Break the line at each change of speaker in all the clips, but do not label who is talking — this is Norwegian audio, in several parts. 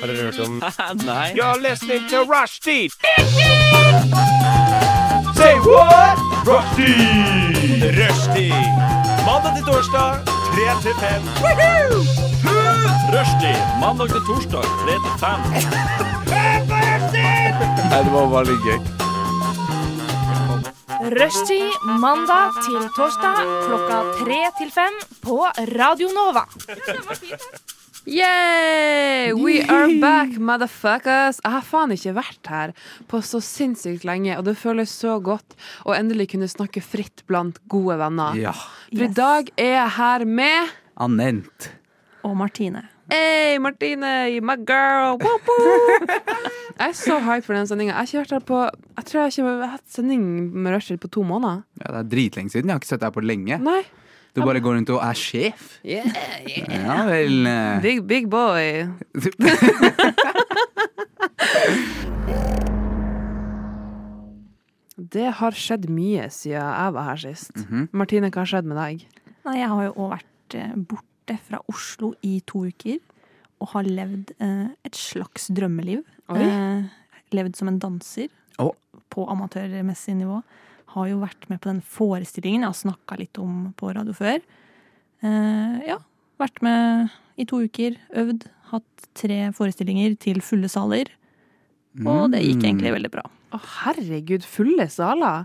Har dere hørt om
Nei.
You're listening to Rushdie. Say what? Rushdie. Rushdie. Mandag til torsdag, 3 til 5.
Rushdie mandag til torsdag 3 til 5.
Nei, det var bare litt gøy.
Rushtid mandag til torsdag klokka tre til fem på Radio Nova.
Yay! We are back, motherfuckers! Jeg har faen ikke vært her på så sinnssykt lenge, og det føles så godt å endelig kunne snakke fritt blant gode venner.
Ja.
For i dag er jeg her med
Anent.
Og Martine.
Hey, Martine, my girl! Woo, woo. jeg er så hyped for den sendinga. Jeg har ikke vært her på Jeg tror jeg ikke har hatt sending med Rushdie på to måneder.
Ja, det er dritlenge siden. Jeg har ikke sett deg på lenge.
Nei.
Du bare går rundt og er sjef. Ja vel. eh.
Big, big boy. Det har skjedd mye siden jeg var her sist. Martine, hva har skjedd med deg?
Nei, jeg har jo også vært eh, borte fra Oslo i to uker. Og har levd eh, et slags drømmeliv.
Oi.
Eh, levd som en danser
Å.
på amatørmessig nivå. Har jo vært med på den forestillingen jeg har snakka litt om på radio før. Eh, ja. Vært med i to uker, øvd. Hatt tre forestillinger til fulle saler. Og det gikk egentlig veldig bra.
Å, herregud, fulle saler!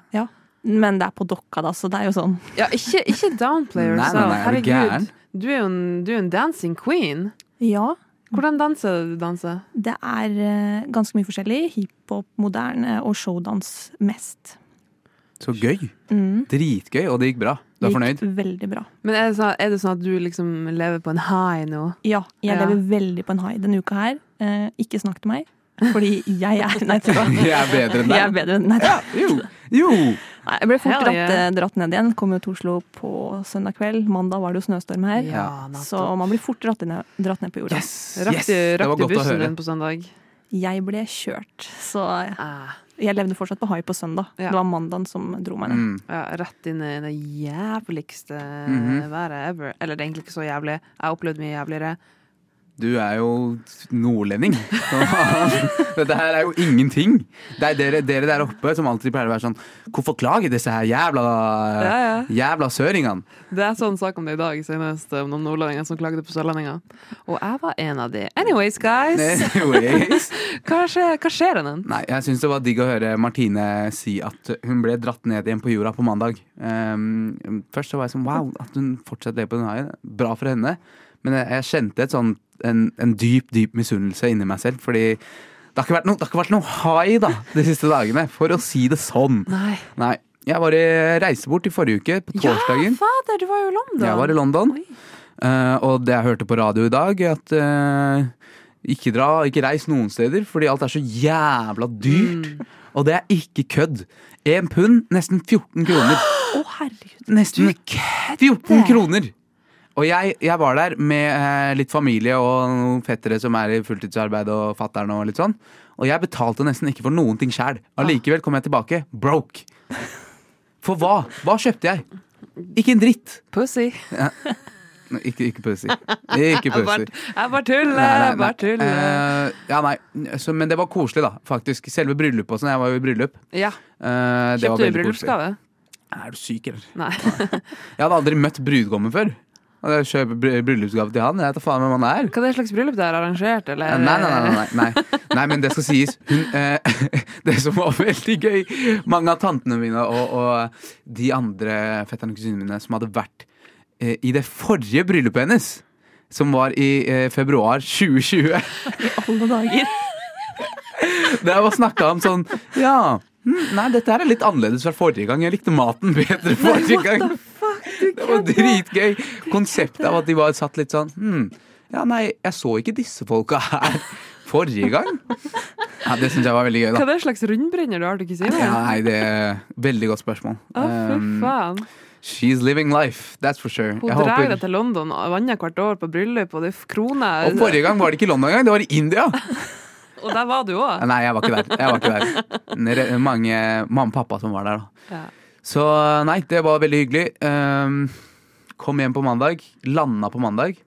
Men det er på dokka, da, så det er jo sånn.
Ja, ikke, ikke downplay
Nei, nei,
yourself.
nei, er du
Herregud,
gæren?
du er jo en, du er en dancing queen.
Ja,
Hvordan danser du? danser?
Det er eh, ganske mye forskjellig. Hiphop, moderne og showdans mest.
Så gøy.
Mm.
Dritgøy. Og det gikk bra. Du er
Gikk
fornøyd?
Veldig bra.
Men er det, sånn, er det sånn at du liksom lever på en high nå?
Ja, jeg
Ja.
lever veldig på en high denne uka her. Eh, ikke snakk til meg, fordi jeg er Nei, tulla.
Jeg er bedre enn
Jeg er
deg.
bedre enn Nei, tulla.
Jo. Jo.
Nei, jeg ble fort
Hell
dratt,
yeah.
eh, dratt ned igjen. Kom jo til Oslo på søndag kveld. Mandag var det jo snøstorm her.
Ja, nettopp.
så man blir fort dratt ned, dratt ned på jorda.
Yes.
Rakk
yes.
du,
Det
rakk
var
du
godt å
bussen
høre.
din på søndag?
Jeg ble kjørt, så
Ah.
jeg levde fortsatt på high på søndag.
Ja.
Det var mandagen som dro meg ned.
Mm.
Ja, rett inn i det jævligste eh,
Mhm.
været ever. Eller det er egentlig ikke så jævlig. Jeg har opplevd mye jævligere.
Du er jo nordlending. Så- Dette her er jo ingenting. Det er dere, dere der oppe som alltid pleier å være sånn Hvorfor klager disse her jævla
Ja, ja.
Jævla søringene?
Det er sånn sak om det i dag senest, eh, om noen nordlendinger som klagde på sørlendinger. Og jeg var en av de. Anyways, guys.
Anyways.
Hva skjer, hva skjer den?
Nei, jeg syns det var digg å høre Martine si at hun ble dratt ned igjen på jorda på mandag. Ehm, først så var jeg sånn wow, at hun fortsatt lever på den haien. Bra for henne. Men jeg, jeg kjente et sånn, en, en dyp, dyp misunnelse inni meg selv, fordi det har ikke vært noe, det har ikke vært noe hai da, de siste dagene, for å si det sånn.
Nei.
Nei. Jeg var i reise bort i forrige uke, på torsdagen.
fader, du var jo i London.
Jeg var i London.
Oi.
Eh, og det jeg hørte på radio i dag, er at eh, ikke dra, ikke reis noen steder, fordi alt er så jævla dyrt. Og det er ikke kødd. Én pund, nesten 14 kroner.
Å, herregud.
Nesten 14 kroner! Og jeg, jeg var der med eh, litt familie og noen fettere som er i fulltidsarbeid og fattern og litt sånn. Og jeg betalte nesten ikke for noen ting sjæl. Allikevel kom jeg tilbake broke. For hva? Hva kjøpte jeg? Ikke en dritt.
Pussy.
Ikke, ikke pussy. Ikke
Jeg bare,
pussy.
jeg bare tuller, jeg bare tuller.
Eh, ja, nei. Så, men det var koselig, da. Faktisk. Selve bryllupet og sånn. Jeg var jo i bryllup.
Ja.
Eh, det var
Kjøpte du
veldig koselig.
bryllupsgave?
Er du syk, eller?
Nei.
Jeg hadde aldri møtt brudgommen før. Og jeg kjøper bry- bryllupsgave til han. Jeg vet da faen hvem han er. Eh,
Hva er det slags bryllup det er arrangert, eller?
Nei, nei, nei, nei, nei, nei. nei men det skal sies. Hun, eh, det som var veldig gøy Mange av tantene mine og, og de andre fetterne og kusinene mine som hadde vært eh, i det forrige bryllupet hennes, som var i eh, februar 2020
Alle dager.
Det var snakka om sånn Ja, hm, nei, dette her er litt annerledes fra forrige gang. Jeg likte maten bedre forrige gang. Det var dritgøy. Konseptet av at de var satt litt sånn hm, Ja, nei, jeg så ikke disse folka her forrige gang. Ja, det syns jeg var veldig gøy,
Hva
da.
er det slags rundbrenner du har til kusina?
Ja, nei, det er Veldig godt spørsmål.
Å, fy
Um,
faen.
she's living life, that's for sure.
Hun
Jeg
drar deg
håper
til London annethvert år på bryllup, og det er kroner.
og forrige gang var det ikke i London engang, det var i India!
Og der var du òg.
Nei, jeg var ikke der. Jeg var ikke der. Re- Mange, mamma og pappa som var der, da.
Ja.
Så eh, nei, det var veldig hyggelig. Ehm, kom hjem på mandag. Landa på mandag.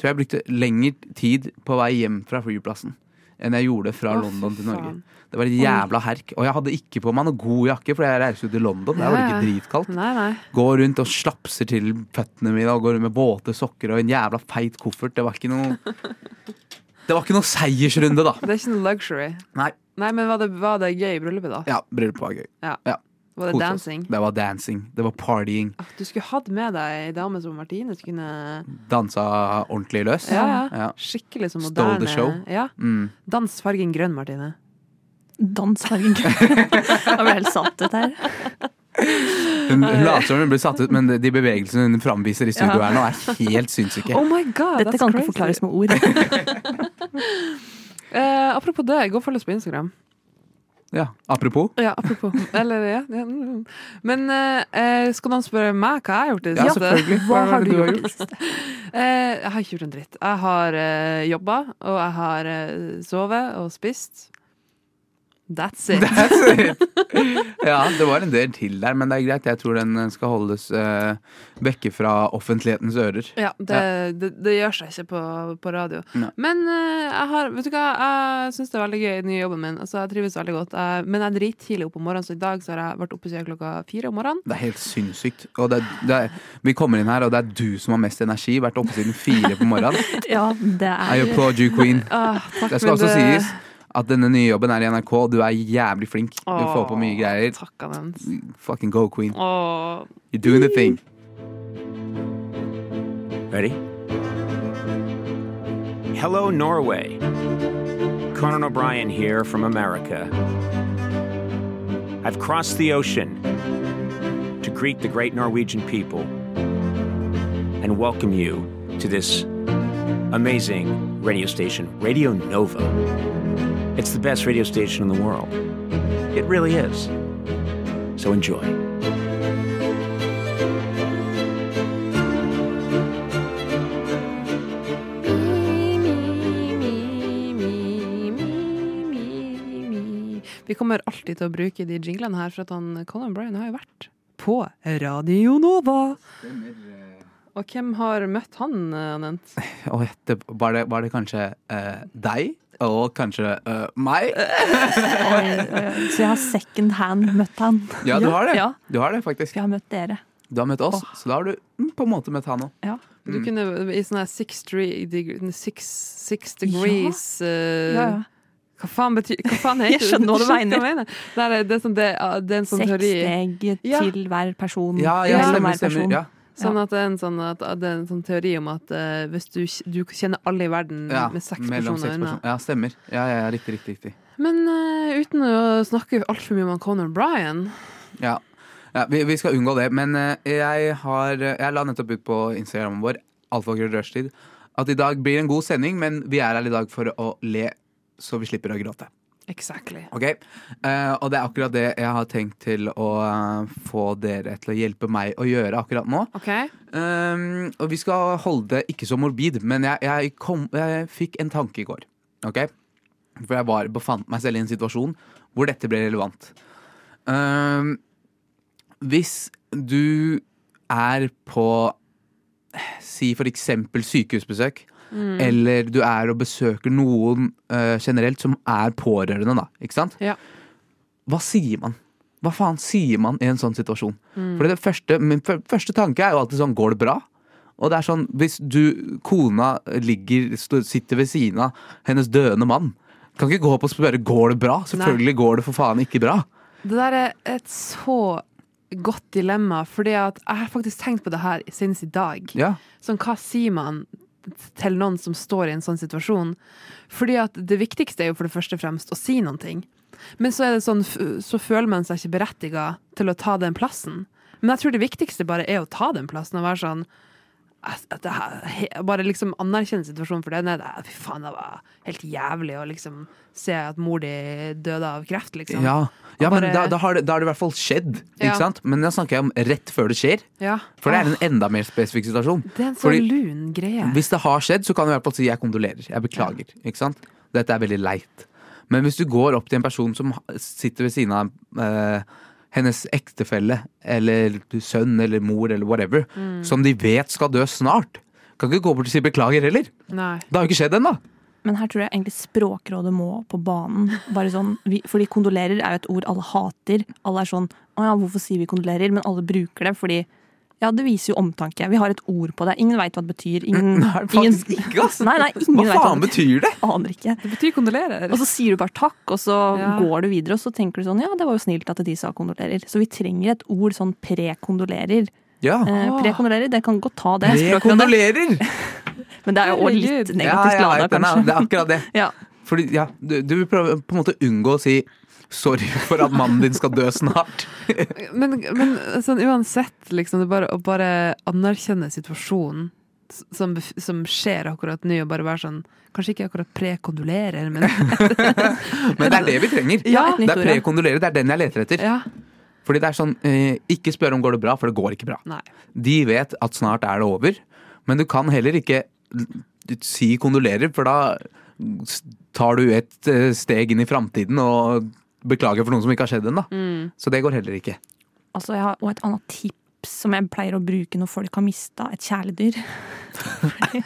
tror jeg brukte lengre tid på vei hjem fra flyplassen enn jeg gjorde fra
Å, fy
London til Norge.
faen.
Det var et jævla herk. Og jeg hadde ikke på meg noe god jakke, for jeg reiste jo til London. Der var det
Ja,
ikke
ja.
dritkaldt.
Nei, nei.
Går rundt og slapser til føttene mine og går rundt med våte sokker og en jævla feit koffert. Det var ikke noe Det var ikke noe seiersrunde, da.
Det er ikke noe luxury.
Nei.
Nei, men var det, var det gøy i bryllupet, da?
Ja, bryllupet var gøy.
Var det
Koset oss.
dancing?
Det var dancing. Det var partying.
Ah, Du skulle hatt med deg ei dame som Martine. Du kunne
Dansa ordentlig løs.
Ja, ja.
Ja.
Skikkelig som
Stole
moderne.
the show.
Ja.
Mm.
Dans fargen grønn, Martine.
Dans fargen grønn. Jeg ble helt satt ut her.
Hun, hun later som hun blir satt ut, men de bevegelsene hun framviser i studio her nå, er helt sinnssyke.
Oh my god,
Dette
that's
kan
crazy.
ikke forklares med ord.
Eh, apropos det, gå og følg oss på Instagram.
Ja, apropos.
Ja, apropos. Eller, ja. ja, mm. Men eh, eh, skal noen spørre meg hva jeg har gjort i det
Ja, selvfølgelig.
Hva
er
har
det
du gjort? Eh, jeg har ikke gjort en dritt. Jeg har uh, jobba, og jeg har eh, sovet og spist. That's it.
Ja, det var en del til der, men det er greit. Jeg tror den skal holdes eh, vekke fra offentlighetens ører.
Ja, det, Det, det gjør seg ikke på, på radio.
Nei.
Men eh, jeg har Vet du hva, jeg syns det er veldig gøy i den nye jobben min. Altså, jeg trives veldig godt. Jeg- men jeg er drittidlig oppe om morgenen, så i dag så har jeg vært oppe siden klokka fire om morgenen.
Det er helt sinnssykt. Og det, er- det er, vi kommer inn her, og det er du som har mest energi. Vært oppe siden fire på morgenen.
Ja, det
I
er
applaud you, queen.
Ah, takk,
Det
men
skal også
det-
sies at denne nye jobben er i NRK, og du er jævlig flink. Du får på mye
Åh,
greier.
Takk, Anand.
Fucking go, queen.
Åh.
You're doing the thing.
Ready?
Hello, Norway. Conan O'Brien here from America. I've crossed the ocean to greet the great Norwegian people and welcome you to this amazing radio station, Radio Nova. It's the best radio station in the world. It really is. So enjoy.
Vi kommer alltid til å bruke de jinglene her, for at han, Colin Bryan har jo vært på Radio Nova.
eh.
Og hvem har møtt han, eh, Anent?
Og det, var, det, var det kanskje eh, deg? Og kanskje eh, meg?
Så jeg har second hand møtt han.
Ja, du har det.
Ja,
Du har det faktisk.
jeg har møtt dere.
Du har møtt oss, så da har du mm, på en måte møtt han òg.
Ja.
Du
Mm.
kunne i sånn her six, degree- deg- six, six degrees eh,
Ja, ja.
Hva faen betyr Hva faen heter
Jeg skjønner hva du
hva jeg Det er, det, er sånn, det, er- det er en sånn
Seks
teori.
steg
Ja.
Eh, til hver person.
Ja, ja,
Mellom
stemmer,
hver person.
stemmer. Ja.
Sånn at det, er en sånn at det er en sånn teori om at eh, hvis du, kj- du kjenner alle i verden
Ja,
med seks personer
mellom seks
unna
personer. Ja, stemmer. Ja, ja, ja, riktig, riktig. riktig.
Men eh, uten å snakke altfor mye om han Conor Bryan
Ja. Ja, vi, vi skal unngå det, men eh, jeg, har, jeg la nettopp ut på Instagramen vår alfakrøll rushtid at i dag blir en god sending, men vi er her i dag for å le, så vi slipper å gråte.
Exactly.
Ok, Eh, Og det er akkurat det jeg har tenkt til å eh, få dere til å hjelpe meg å gjøre akkurat nå.
OK?
Um, og vi skal holde det ikke så morbid, men jeg, jeg, kom, jeg fikk en tanke i går. Ok? For jeg var, befant meg selv i en situasjon hvor dette ble relevant. Um, hvis du er på Si for eksempel sykehusbesøk, eller du er og besøker noen eh, generelt som er pårørende, da. Ikke sant?
Ja.
Hva sier man? Hva faen sier man i en sånn situasjon? For det første, min fø- første tanke er jo alltid sånn, går det bra? Og det er sånn, hvis du, kona ligger, sto- sitter ved siden av hennes døende mann, kan ikke gå opp og spørre, går det bra? Selvfølgelig går det for faen ikke bra.
Det der er et så godt dilemma, fordi at jeg har faktisk tenkt på det her senest i dag.
Ja,
Sånn, hva sier man til noen som står i en sånn situasjon? Fordi at det viktigste er jo for det første og fremst å si noen ting. Men så, er det sånn, f- så føler man seg ikke berettiga til å ta den plassen. Men jeg tror det viktigste bare er å ta den plassen og være sånn "Jeg- at det her- he- Bare liksom anerkjenne situasjonen for det. Nei, det er- fy faen, det var helt jævlig å liksom se at mor di døde av kreft, liksom.
ja. ja men
bare-
da, da, har det, da har det i hvert fall skjedd,
Ja.
ikke sant? Men da snakker jeg om rett før det skjer,
Ja.
for det
Åh,
er en enda mer spesifikk situasjon.
det er en sånn
Fordi-
lun greie.
Hvis det har skjedd, så kan du i hvert fall si 'jeg kondolerer', 'jeg beklager'. Ikke sant? Dette er veldig leit. Men hvis du går opp til en person som ha- sitter ved siden av eh, hennes
Mm.
ektefelle eller sønn eller mor eller whatever, som de vet skal dø snart, Kan ikke gå bort og si beklager heller.
Nei.
Det har jo ikke skjedd ennå.
Men her tror jeg egentlig Språkrådet må på banen. Bare sånn, vi, fordi kondolerer er jo et ord alle hater. Alle er sånn Å ja, hvorfor sier vi kondolerer? Men alle bruker det fordi Ja, det viser jo omtanke. Vi har et ord på det. Ingen veit hva det betyr. Ingen,
Nei, faktisk ikke, altså.
Nei, nei, ingen
Hva
vet
faen
hva det
betyr det?
Aner ikke.
Det betyr kondolerer.
Altså,
Og så sier du bare takk, og så
Ja.
går du videre, og så tenker du sånn Ja, det var jo snilt at de sa kondolerer. Så vi trenger et ord sånn prekondolerer.
Ja.
Eh,
Åh.
prekondolerer, det kan godt ta det.
Jeg
Språkrådet.
kondolerer!
Men det er jo også litt
Herregud.
negativt
ja,
lada,
jeg vet den, ja.
kanskje.
Det er akkurat det.
Ja.
Fordi, ja, du, du vil prøve på en måte unngå å si sorry for at mannen din skal dø snart.
Men, men sånn, uansett, liksom, det er bare, å bare anerkjenne situasjonen s- som, bef- som skjer akkurat nå, og bare være sånn Kanskje ikke akkurat prekondolerer, men
Men det er det vi trenger.
Ja, et nytt
det er
ord, ja.
prekondolere. Det er den jeg leter etter.
ja.
Fordi det er sånn, eh, ikke spør om går det bra, for det går ikke bra.
Nei.
De vet at snart er det over, men du kan heller ikke l- si kondolerer, for da s- tar du et eh, steg inn i framtiden og beklager for noe som ikke har skjedd ennå.
Mm.
Så det går heller ikke.
Altså, jeg har og et annet tips som jeg pleier å bruke når folk har mista et kjæledyr. Fordi-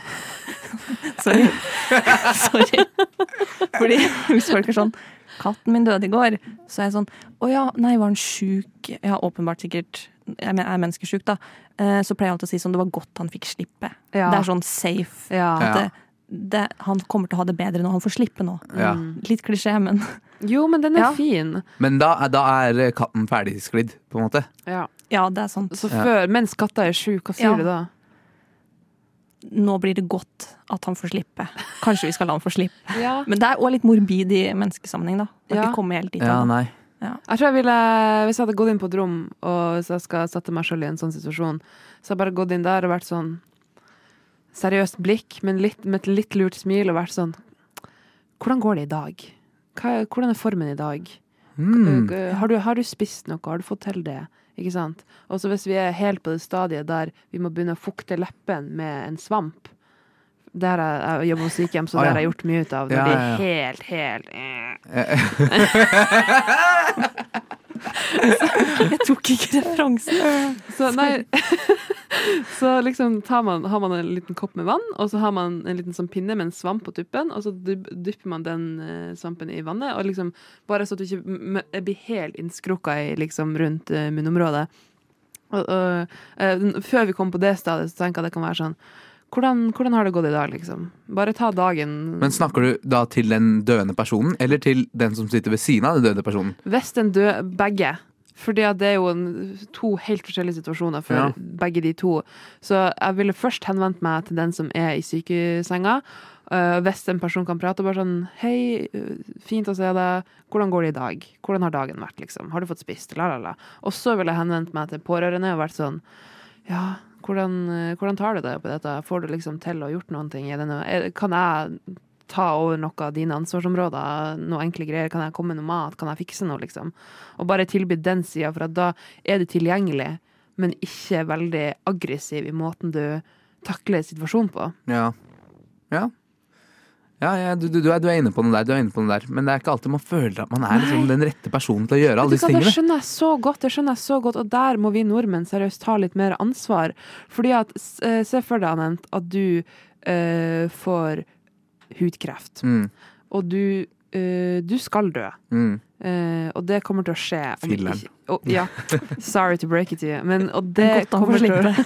Sorry. Sorry. Fordi hvis folk er sånn 'Katten min døde i går', så er jeg sånn 'Å ja, nei, var han sjuk?' Ja, åpenbart sikkert. Jeg men- er menneskesjuk, da. Eh, Så pleier jeg alltid å si sånn 'Det var godt han fikk slippe'.
Ja.
Det er sånn safe.
Ja.
At det, det, han kommer til å ha det bedre når han får slippe nå.
Ja.
Litt klisjé, men
Jo, men den er
Ja.
fin.
Men da, er- da er katten ferdigsklidd, på en måte.
Ja.
ja, det er sant.
Så
Ja.
før, mens katta er sjuk, hva sier
Ja.
du da?
Nå blir det godt at han får slippe. Kanskje vi skal la han få slippe.
Ja.
Men det er òg litt morbid i menneskesammenheng, da. Har
Ja.
ikke kommet helt dit
Ja,
ennå.
nei.
Jeg tror jeg ville, Hvis jeg hadde gått inn på et rom, og hvis jeg skal sette meg selv i en sånn situasjon, så hadde jeg bare gått inn der og vært sånn Seriøst blikk, men litt, med et litt lurt smil, og vært sånn Hvordan går det i dag? Hva, er- hvordan er formen i dag?
Mm.
G- Har, du, har du spist noe? Har du fått til det? Ikke sant? Og så hvis vi er helt på det stadiet der vi må begynne å fukte leppen med en svamp Det har jeg, jeg jobber på sykehjem, så det
Å, Ah, ja.
har jeg gjort mye ut av. Når
Ja,
de
ja, ja.
er helt, helt eh.
Jeg tok ikke referansen.
Så, nei, så liksom tar man, har man en liten kopp med vann, og så har man en liten sånn pinne med en svamp på tuppen, og så dyp- dypper man den eh, svampen i vannet, og liksom bare så at du ikke m- m- blir helt innskrukka i liksom rundt eh, munnområdet. Og, og, eh, n- før vi kommer på det stadiet, så tenker jeg det kan være sånn hvordan, hvordan har det gått i dag, liksom? Bare ta dagen.
Men snakker du da til den døende personen, eller til den som sitter ved siden av den døde personen?
Hvis den dør begge fordi at det er jo en, to helt forskjellige situasjoner for
Ja.
begge de to. Så jeg ville først henvendt meg til den som er i sykesenga. øh, hvis en person kan prate, og bare sånn Hei, øh, fint å se deg. Hvordan går det i dag? Hvordan har dagen vært, liksom? Har du fått spist? La, la, la. Og så ville jeg henvendt meg til pårørende og vært sånn Ja, hvordan, øh, hvordan tar du det på dette? Får du liksom til å ha gjort noen ting? Er det noe, er, kan jeg ta over noe av dine ansvarsområder, noe enkle greier, kan jeg komme med noe mat, kan jeg fikse noe, liksom. Og bare tilby den sida, for at da er du tilgjengelig, men ikke veldig aggressiv i måten du takler situasjonen på.
Ja. Ja. Ja, ja du, du, du er, du er inne på noe der, du er inne på noe der. Men det er ikke alltid man føler at man er liksom, den rette personen til å gjøre alle
Vet du
disse
hva, Det
tingene.
skjønner jeg så godt, det skjønner jeg så godt, og der må vi nordmenn seriøst ta litt mer ansvar. Fordi at, s- eh, se for deg, Anent, at du eh, får hudkreft,
Mm,
og du, eh, du skal dø.
mm.
Eh, og det kommer til å skje om
Filleren.
ikke- og- ja. Sorry to break it to you. Men, og det
Godt han
kommer
får
til å
slippe.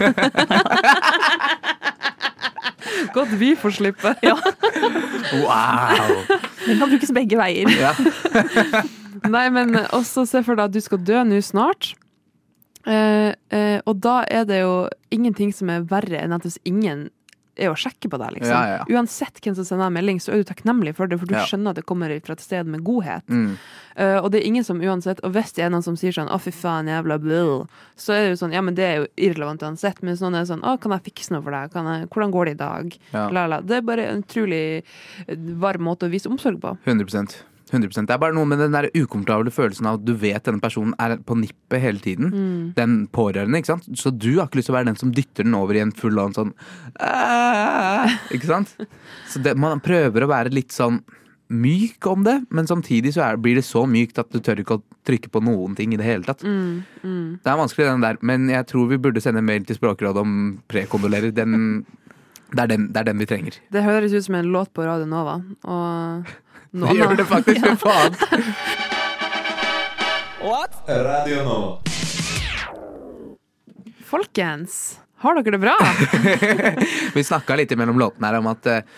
Godt vi får slippe.
Wow!
Den kan brukes begge veier.
Ja.
Nei, men også se for deg at du skal dø nå snart. Eh, eh, og da er det jo ingenting som er verre enn at hvis ingen er å sjekke på deg, liksom.
Ja, ja, ja.
Uansett hvem som sender deg en melding, så er du takknemlig for det, for du
Ja.
skjønner at det kommer fra et sted med godhet.
Mm.
Eh, og det er ingen som uansett Og hvis det er noen som sier sånn 'Å, fy faen, jævla blæh', så er det jo sånn Ja, men det er jo irrelevant uansett. Men hvis noen er sånn 'Å, kan jeg fikse noe for deg? Kan jeg, hvordan går det i dag?'
Ja.
La, la. Det er bare en utrolig varm måte å vise omsorg på.
100 100 Det er bare noe med den der ukomfortable følelsen av at du vet denne personen er på nippet hele tiden. Den pårørende, ikke sant. Så du har ikke lyst til å være den som dytter den over i en full on sånn «Æ», Ikke sant? Så det, man prøver å være litt sånn myk om det, men samtidig så er, blir det så mykt at du tør ikke å trykke på noen ting i det hele tatt. Det er vanskelig, den der, men jeg tror vi burde sende mail til Språkrådet om prekondolerer. Den Det er den, det er den vi trenger.
Det høres ut som en låt på Radio Nova. Og noe
Vi gjør
annet.
det faktisk, fy faen!
Radio Nova.
Folkens, har dere det bra?
Vi snakka litt mellom låtene her om at eh,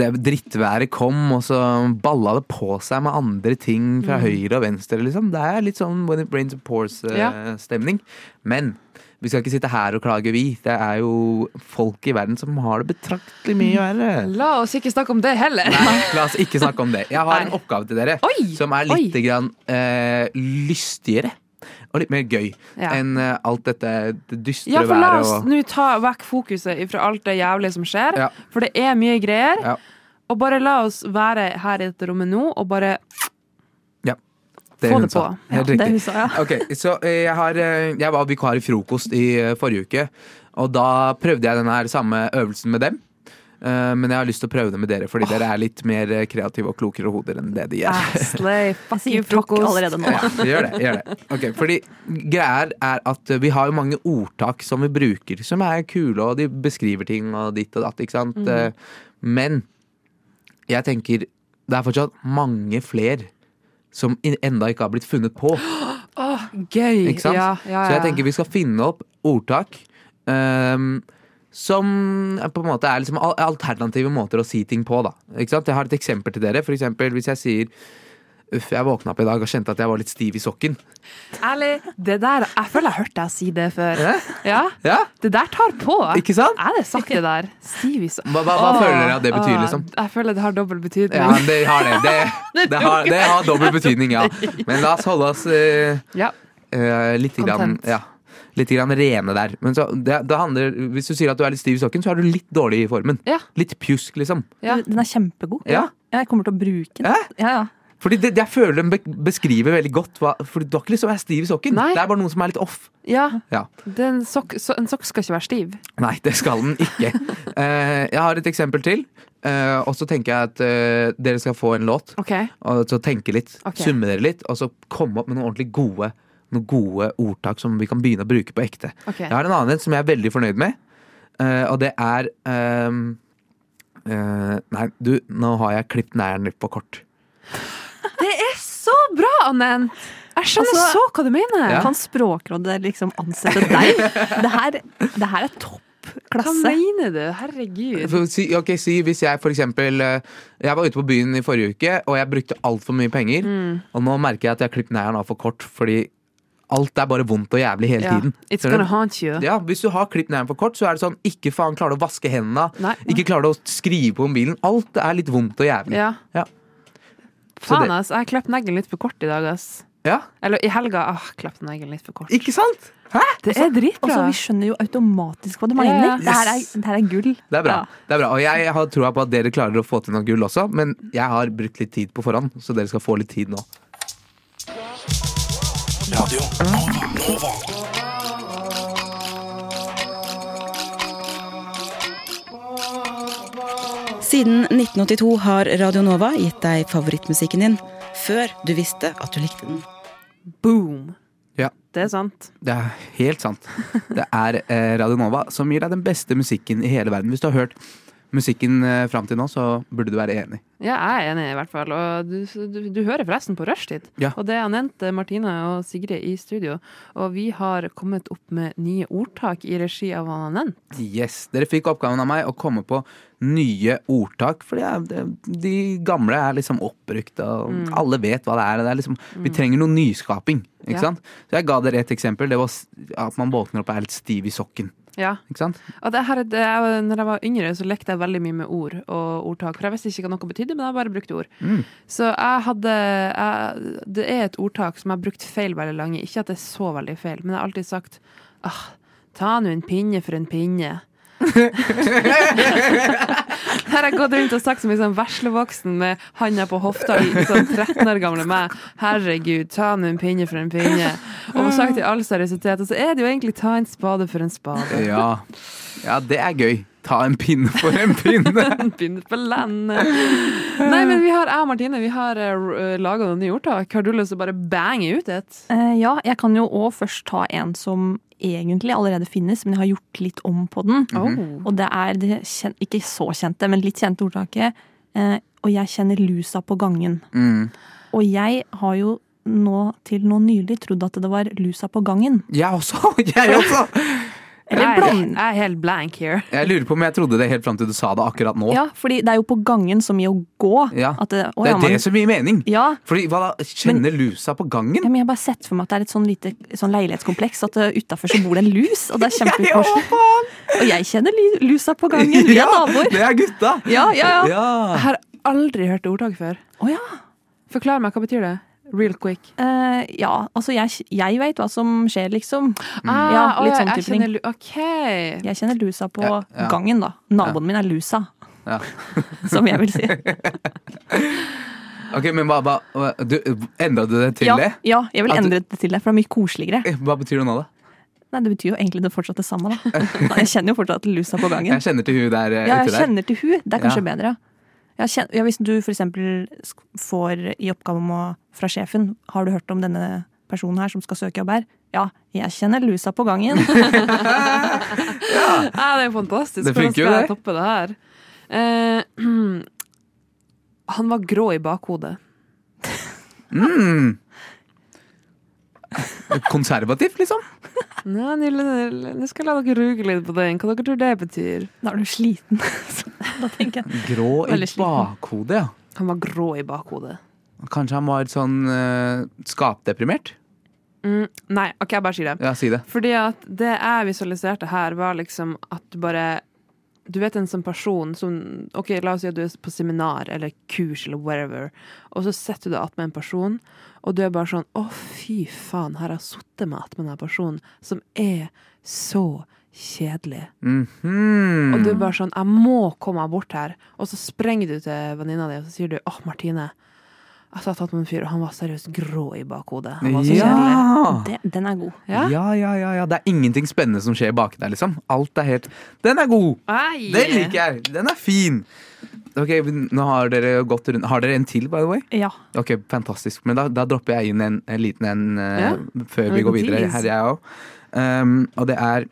det drittværet kom, og så balla det på seg med andre ting
Mm.
fra høyre og venstre. Liksom. Det er litt sånn When it rains it
Ja.
pours-stemning. Men vi skal ikke sitte her og klage, vi. Det er jo folk i verden som har det betraktelig
Mm.
mye verre.
La oss ikke snakke om det heller.
Nei, la oss ikke snakke om det. Jeg har en
Nei.
oppgave til dere
Oi,
som er
oi.
litt grann, eh, lystigere. Og litt mer gøy
Ja.
enn eh, alt dette det dystre
Ja, for la
været.
oss
Og...
nå ta vekk fokuset fra alt det jævlige som skjer,
Ja.
for det er mye greier.
Ja.
Og bare la oss være her i dette rommet nå, og bare
Det
Få
hun
det
sa.
på.
Helt
det
riktig.
hun sa, ja.
Ok, så eh, jeg, har, eh, jeg var vikar i frokost i eh, forrige uke, og da prøvde jeg denne her samme øvelsen med dem. Eh, Men jeg har lyst til å prøve det med dere, fordi dere er litt mer eh, kreative og klokere hoder enn det de er.
Slay,
Jeg
fuck you,
sier takk
frokost.
allerede nå.
Ja, det gjør det. Gjør det. Ok, fordi greier er at eh, vi har jo mange ordtak som vi bruker, som er kule, og de beskriver ting og ditt og datt, ikke sant? Eh, Men jeg tenker det er fortsatt mange flere som in- enda ikke har blitt funnet på.
Gøy.
Ikke sant?
Ja, ja,
Så jeg
ja.
tenker vi skal finne opp ordtak ehm, som på en måte er liksom al- alternative måter å si ting på. Da. Ikke sant? Jeg har et eksempel til dere. For eksempel, hvis jeg sier Uff, jeg våkna opp i dag og kjente at jeg var litt stiv i sokken.
Ærlig, det der Jeg føler jeg har hørt deg si det før.
Ja?
Ja,
Ja,
det der tar på.
ikke sant?
Er det sagt, det der? Stivis.
Hva, hva, hva føler dere at det betyr, liksom?
Jeg føler det har dobbel
Ja,
betydning.
det har det. Det, det, har, det har dobbel betydning, ja. Men la oss holde oss eh,
Ja.
eh, litt, grann,
Content.
ja, litt grann rene der. Men så, det, det handler, hvis du sier at du er litt stiv i sokken, så er du litt dårlig i formen.
Ja.
Litt pjusk, liksom.
Ja.
Den er kjempegod.
Ja.
Jeg kommer til å bruke den.
Hæ?
Ja, ja.
Fordi det, jeg føler den be- beskriver veldig godt hva, Fordi du har ikke lyst til å være stiv i sokken.
Nei.
Det er bare noen som er litt off.
ja.
Ja.
det er en sokk- så- en sokk skal ikke være stiv.
Nei, det skal den ikke. Eh, jeg har et eksempel til. eh, og så tenker jeg at eh, dere skal få en låt.
OK.
Og så tenke litt,
Ok.
summe dere litt, og så komme opp med noen ordentlig gode noen gode ordtak som vi kan begynne å bruke på ekte.
ok.
Jeg har en annen en som jeg er veldig fornøyd med, eh, og det er ehm, eh, Nei, du, nå har jeg klippet neglen litt på kort.
Det er så bra, Annen! Jeg skjønner
Altså-
så hva du mener.
Ja.
Kan Språkrådet liksom ansette deg? Det her, det her er topp
Hva
klasse.
mener du? Herregud.
For Si, ok, si hvis jeg for eksempel eh, Jeg var ute på byen i forrige uke, og jeg brukte altfor mye penger.
Mm.
Og nå merker jeg at jeg har klippet neglen av for kort, fordi alt er bare vondt og jævlig hele
Ja.
tiden.
It's
Skjønner du?
gonna haunt you.
Ja, Hvis du har klippet neglen for kort, så er det sånn ikke faen klarer du å vaske hendene.
Nei.
Ikke klarer du å skrive på mobilen. Alt er litt vondt og jævlig.
Ja.
Ja. Så
Faen,
det-
ass. Jeg har kløpt neglen litt for kort i dag, ass.
Ja,
Eller i helga. Åh, kløpt neglen litt for kort. Altså,
Ikke altså- sant?
Det er
Og så
dritbra.
vi skjønner jo automatisk hva du
Ja,
mener.
ja.
Det, her er, det her er gull.
Det er bra.
Ja.
det er bra Og jeg har troa på at dere klarer å få til noe gull også, men jeg har brukt litt tid på forhånd, så dere skal få litt tid nå.
Siden 1982 har Radio Nova gitt deg favorittmusikken din før du visste at du likte den.
Boom.
Ja.
Det er sant.
Det er helt sant. Det er eh, Radio Nova som gir deg den beste musikken i hele verden. Hvis du har hørt musikken eh, fram til nå, så burde du være enig.
Ja, jeg er enig, i hvert fall. Og du, du, du hører forresten på Rushtid.
Ja.
Og det er Anette, Martine og Sigrid i studio. Og vi har kommet opp med nye ordtak i regi av Anette.
Yes, Dere fikk oppgaven av meg å komme på nye ordtak. For de gamle er liksom oppbrukt, og alle vet hva det er. Det er liksom, vi trenger noe nyskaping. Ikke
Ja.
sant? Så jeg ga dere et eksempel. Det var s- at man våkner opp og er litt stiv i sokken.
Ja.
Ikke sant?
Og det her, det er, jo- når jeg var yngre, så lekte jeg veldig mye med ord og ordtak. For jeg visste ikke hva noe betydde, men jeg bare brukte ord. Så jeg hadde jeg, Det er et ordtak som jeg har brukt feil veldig lenge. Ikke at det er så veldig feil, men jeg har alltid sagt ah, Ta nå en pinne for en pinne. Her har jeg gått rundt og sagt som en sånn veslevoksen med handa på hofta i sånn 13 år gamle meg. Herregud, ta nå en pinne for en pinne. Og sagt i all seriøsitet. Og så er det jo egentlig ta en spade for en spade.
Ja. ja, det er gøy. Ta en pinne for en pinne!
Begynner på landet. Nei, men vi har, jeg og Martine vi har eh, laga noen nye ordtak. Har du lyst til å bare bange ut et?
Eh, ja, jeg kan jo òg først ta en som egentlig allerede finnes, men jeg har gjort litt om på den.
Oh.
Og det er det kjen ikke så kjente, men litt kjente ordtaket eh, Og jeg kjenner lusa på gangen.
Mm.
Og jeg har jo nå til nå nylig trodd at det var lusa på gangen.
Jeg også! Jeg også!
Jeg
Eller
er-
bland.
Jeg er helt blank here.
Jeg lurer på om jeg trodde det helt fram til du sa det akkurat nå.
Ja, fordi det er jo på gangen som i å gå.
Ja.
At det, å,
Det
ja,
er
man,
det som gir mening!
ja,
Fordi hva da? Kjenner lusa på gangen?
Ja, men jeg har bare sett for meg at det er et sånn lite sånn leilighetskompleks, at uh, utafor så bor det en lus, og det er kjempekoselig. og jeg kjenner lu- lusa på gangen, vi er naboer.
det er gutta!
Ja, ja, ja.
Jeg har aldri hørt det ordtaket før.
Å ja.
Forklar meg, hva betyr det? Real quick.
Eh, ja, altså jeg, jeg veit hva som skjer, liksom.
Ah,
Ja, litt
å,
sånn
jeg
type ting.
kjenner lu- OK.
Jeg kjenner lusa på
Ja, ja.
gangen, da. Naboen min er lusa,
Ja.
som jeg vil si.
Ok, men hva, hva, hva- du, Endra du det til
Ja,
det?
ja, jeg vil
At du-
endre det til det, for det er mye koseligere.
Eh, Hva betyr det nå, da?
Nei, Det betyr jo egentlig det fortsatt det samme, da. Jeg kjenner jo fortsatt lusa på gangen.
Jeg kjenner til hun der eh,
Ja,
ute
jeg
der.
kjenner til hun. Det er kanskje
Ja.
bedre. Jeg kjen- ja, hvis du for eksempel sk- får i oppgave om å, fra sjefen Har du hørt om denne personen her som skal søke jobb her? Ja, jeg kjenner lusa på gangen.
Ja, Ah, det er jo fantastisk.
Det funker jo,
Hvordan skal jeg
det.
toppe det her? Eh, han var grå i bakhodet.
Mm. Konservativ, liksom?
Nei, Nille, Nille, nå skal jeg la dere ruge litt på den. Hva dere tror det betyr?
Da er du sliten. Så da tenker jeg
Grå i
Veldig sliten.
bakhodet, ja.
Han var grå i bakhodet.
Kanskje han var sånn eh, skapdeprimert?
Mm, nei, ok, jeg bare sier det.
Ja, si det.
Fordi at det jeg visualiserte her, var liksom at du bare Du vet en sånn person som Ok, la oss si at du er på seminar eller kurs eller whatever, og så setter du deg attmed en person, og du er bare sånn Å, fy faen, her har jeg sittet meg attmed denne personen, som er så kjedelig.
Mhm.
Og du er bare sånn Jeg må komme meg bort her. Og så sprenger du til venninna di, og så sier du Å, Martine. Jeg satt attmed en fyr, og han var seriøst grå i bakhodet. Han var så kjedelig.
ja.
det, den er god.
Ja?
ja, ja, ja, ja. Det er ingenting spennende som skjer baki der, liksom. Alt er helt Den er god!
Ei.
Den liker jeg! Den er fin! Ok, men nå Har dere gått rundt Har dere en til, by the way?
Ja.
Ok, Fantastisk. Men da, da dropper jeg inn en, en liten en eh,
Ja.
før vi
Oh,
går videre.
geez.
Her er jeg også. Um, og det er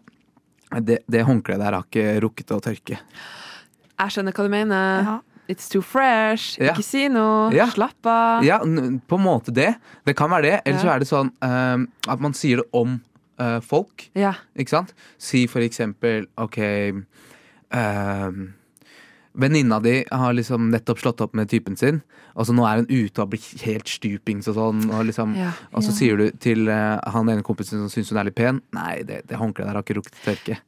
det, det håndkleet der har ikke rukket å tørke.
Jeg skjønner hva du mener.
Ja.
It's too fresh.
Ja.
Ikke si noe.
Ja.
Slapp av.
Ja, n- på en måte det. Det kan være det. Eller så
Ah. Ja.
er det sånn ehm, at man sier det om eh, folk.
Ja.
Ikke sant? Si for eksempel OK ehm, Venninna di har liksom nettopp slått opp med typen sin, og så nå er hun ute og blir helt stupings og sånn. Og, liksom,
Ja.
og så sier du til eh, han ene kompisen som syns hun er litt pen Nei, det, det håndkleet der har ikke rukket å tørke.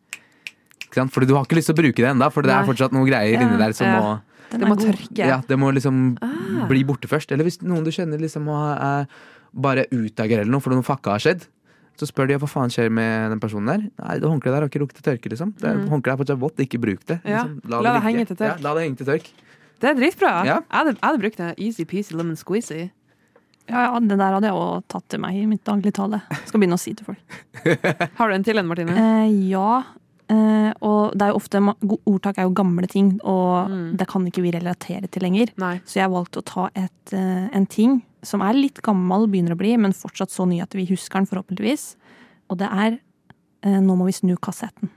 Ikke sant? Fordi du har ikke lyst til å bruke det ennå, for det er
Nei.
fortsatt noen greier inni der som
Ja.
må
Den
Det
er
må
god.
tørke.
ja, det må liksom
Ah.
bli borte først. Eller hvis noen du kjenner liksom har- er bare utagerer eller noe fordi noe fucka har skjedd, så spør de hva faen skjer med den personen der. Nei, det håndkleet der har ikke rukket å tørke, liksom. Det
Mm.
Håndkleet er fortsatt vått, ikke bruk det.
Ja,
Liksom,
la det
ligge.
henge til tørk.
Ja, la det henge til tørk.
Det er dritbra.
Ja.
Jeg, hadde, jeg hadde brukt det. Easy peasy lemon squeezy.
Ja, ja, det der hadde jeg òg tatt til meg i mitt dagligtale. Skal begynne å si til folk.
Har du en til en, Martine?
Eh, ja. Eh, og det er jo ofte ma- go- Ordtak er jo gamle ting, og
Mm.
det kan ikke vi relatere til lenger.
Nei.
Så jeg valgte å ta et, eh, en ting som er litt gammel, begynner å bli, men fortsatt så ny at vi husker den, forhåpentligvis. Og det er eh, 'Nå må vi snu kassetten'.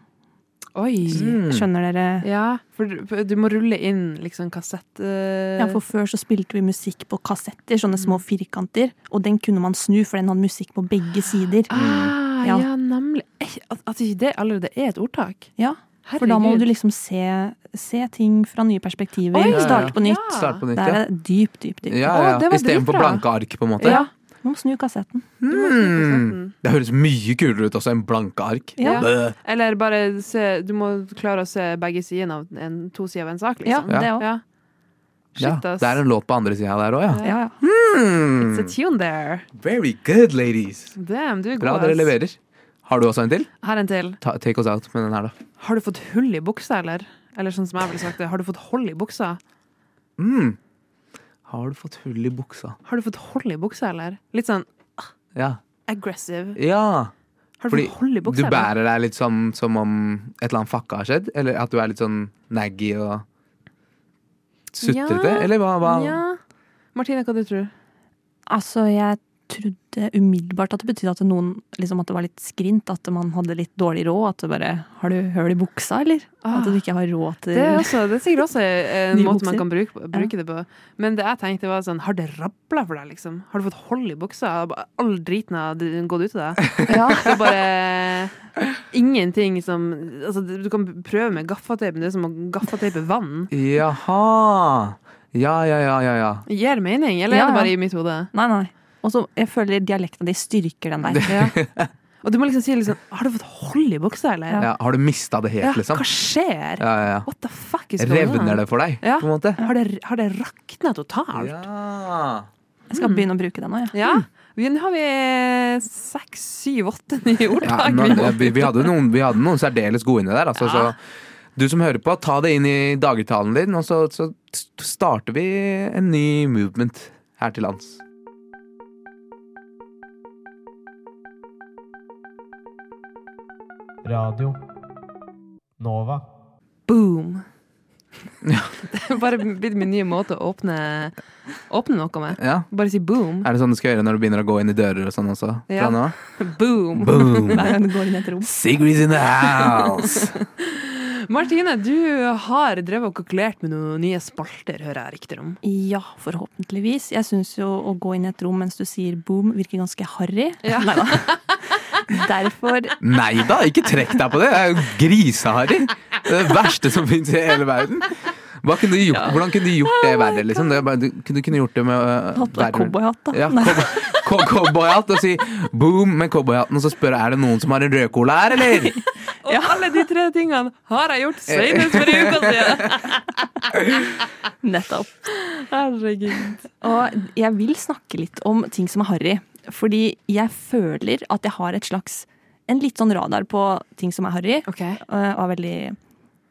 Oi.
Mm.
Skjønner dere?
Ja, for du, for du må rulle inn liksom kassett... eh,
Ja, for Før så spilte vi musikk på kassetter, sånne små firkanter. Og den kunne man snu, for den hadde musikk på begge sider.
Ah, ja.
Mm. Ja.
nemlig. Eh, At, at ikke det allerede er et ordtak.
Ja,
Herregud.
For da må du liksom se, se ting fra nye perspektiver.
Oi,
starte på nytt.
ja.
Start på nytt,
Det
ja.
er dypt, dypt, dypt.
ja,
Å,
ja.
det var
Istedenfor
dritbra.
blanke ark, på en måte.
Ja.
Nå må snu kassetten.
Mm. Det høres mye kulere ut også enn blanke ark.
Ja.
Bøh.
Eller bare se Du må klare å se begge sidene av en, to sider av en sak,
Ja,
liksom.
det òg.
Ja.
Ja,
Shit, ass.
det er en låt på andre sida der òg, ja.
Ja, ja.
Mm.
It's a tune there.
Very good, ladies.
Damn, du er
Bra
god.
dere
ass.
leverer. Har du også en til?
Her en til.
Ta, take us out med den her, da.
Har du fått hull i buksa, eller? Eller sånn som jeg ville sagt det, har du fått hold i buksa?
Mm. Har du fått hull i buksa?
Har du fått hold i buksa, eller? Litt sånn
Ja.
aggressive.
Ja.
Har du
Fordi
fått hold i
du
buksa? eller?
bærer deg litt sånn som om et eller annet fucka har skjedd? Eller at du er litt sånn naggy og sutrete?
Ja.
Eller hva? hva?
Ja. Martine, hva du tror du?
Altså, jeg trodde umiddelbart at det betydde at noen liksom at det var litt skrint, at man hadde litt dårlig råd, at det bare Har du høl i buksa, eller?
Ah.
At du ikke har råd til
Det er, også, det er sikkert også en
Nye
måte man
bukser.
kan bruke, bruke det på. Men det jeg tenkte var sånn, har det rabla for deg, liksom? Har du fått hold i buksa? Har bare All driten har gått ut av deg? Det er bare ingenting som Altså, du kan prøve med gaffateip, men det er som å gaffateipe vann.
Jaha. Ja, ja, ja, ja. ja.
Gir det mening, eller
Ja,
er det bare
ja.
i mitt hode?
Nei, nei. Og så jeg føler dialekten din styrker den der.
Og du må liksom si liksom, har du fått hold i buksa, eller?
ja har du mista det helt,
Ja,
liksom?
hva skjer?
Ja, ja,
What the fuck is
ja.
going on?
Revner det for deg,
Ja.
på en måte?
Har det, har det rakna totalt?
Ja.
Jeg skal begynne å bruke den nå, jeg.
Ja. Vi, nå har vi seks, syv, åtte nye
Ja,
ordtak.
nå, vi, vi, hadde noen, vi hadde noen særdeles gode inni der. Altså, så, du som hører på, ta det inn i dagligtalen din, og så, så st- starter vi en ny movement her til lands.
Radio Nova.
Boom! Det er bare blitt min nye måte å åpne, åpne noe med.
Ja.
Bare si boom.
Er det sånn du skal gjøre når du begynner å gå inn i dører og sånn også? Fra
Ja.
nå?
Boom!
Boom!
Hver gang du går inn i et rom.
Sigrid's in the house!
Martine, du har drevet og kalkulert med noen nye spalter, hører jeg rykter om.
Ja, forhåpentligvis. Jeg syns jo å gå inn i et rom mens du sier boom, virker ganske harry.
Ja.
Neida. Derfor
Nei da, ikke trekk deg på det! Det er jo griseharry! Det er det verste som fins i hele verden. Hva kunne du gjort, Hvordan kunne du gjort det verre? Liksom? Det er bare, du, kunne- du kunne gjort det med øh,
hatt på deg
verre-
cowboyhatt, da.
Ja,
Nei.
cow- cow- cowboyhatt og si boom med cowboyhatten, og så spørre er det noen som har en rødkål her, eller?
Og alle de tre tingene har jeg gjort senest for en uke siden!
Nettopp.
Herregud.
Og jeg vil snakke litt om ting som er harry. Fordi jeg føler at jeg har et slags En litt sånn radar på ting som er harry.
Ok.
Og jeg er veldig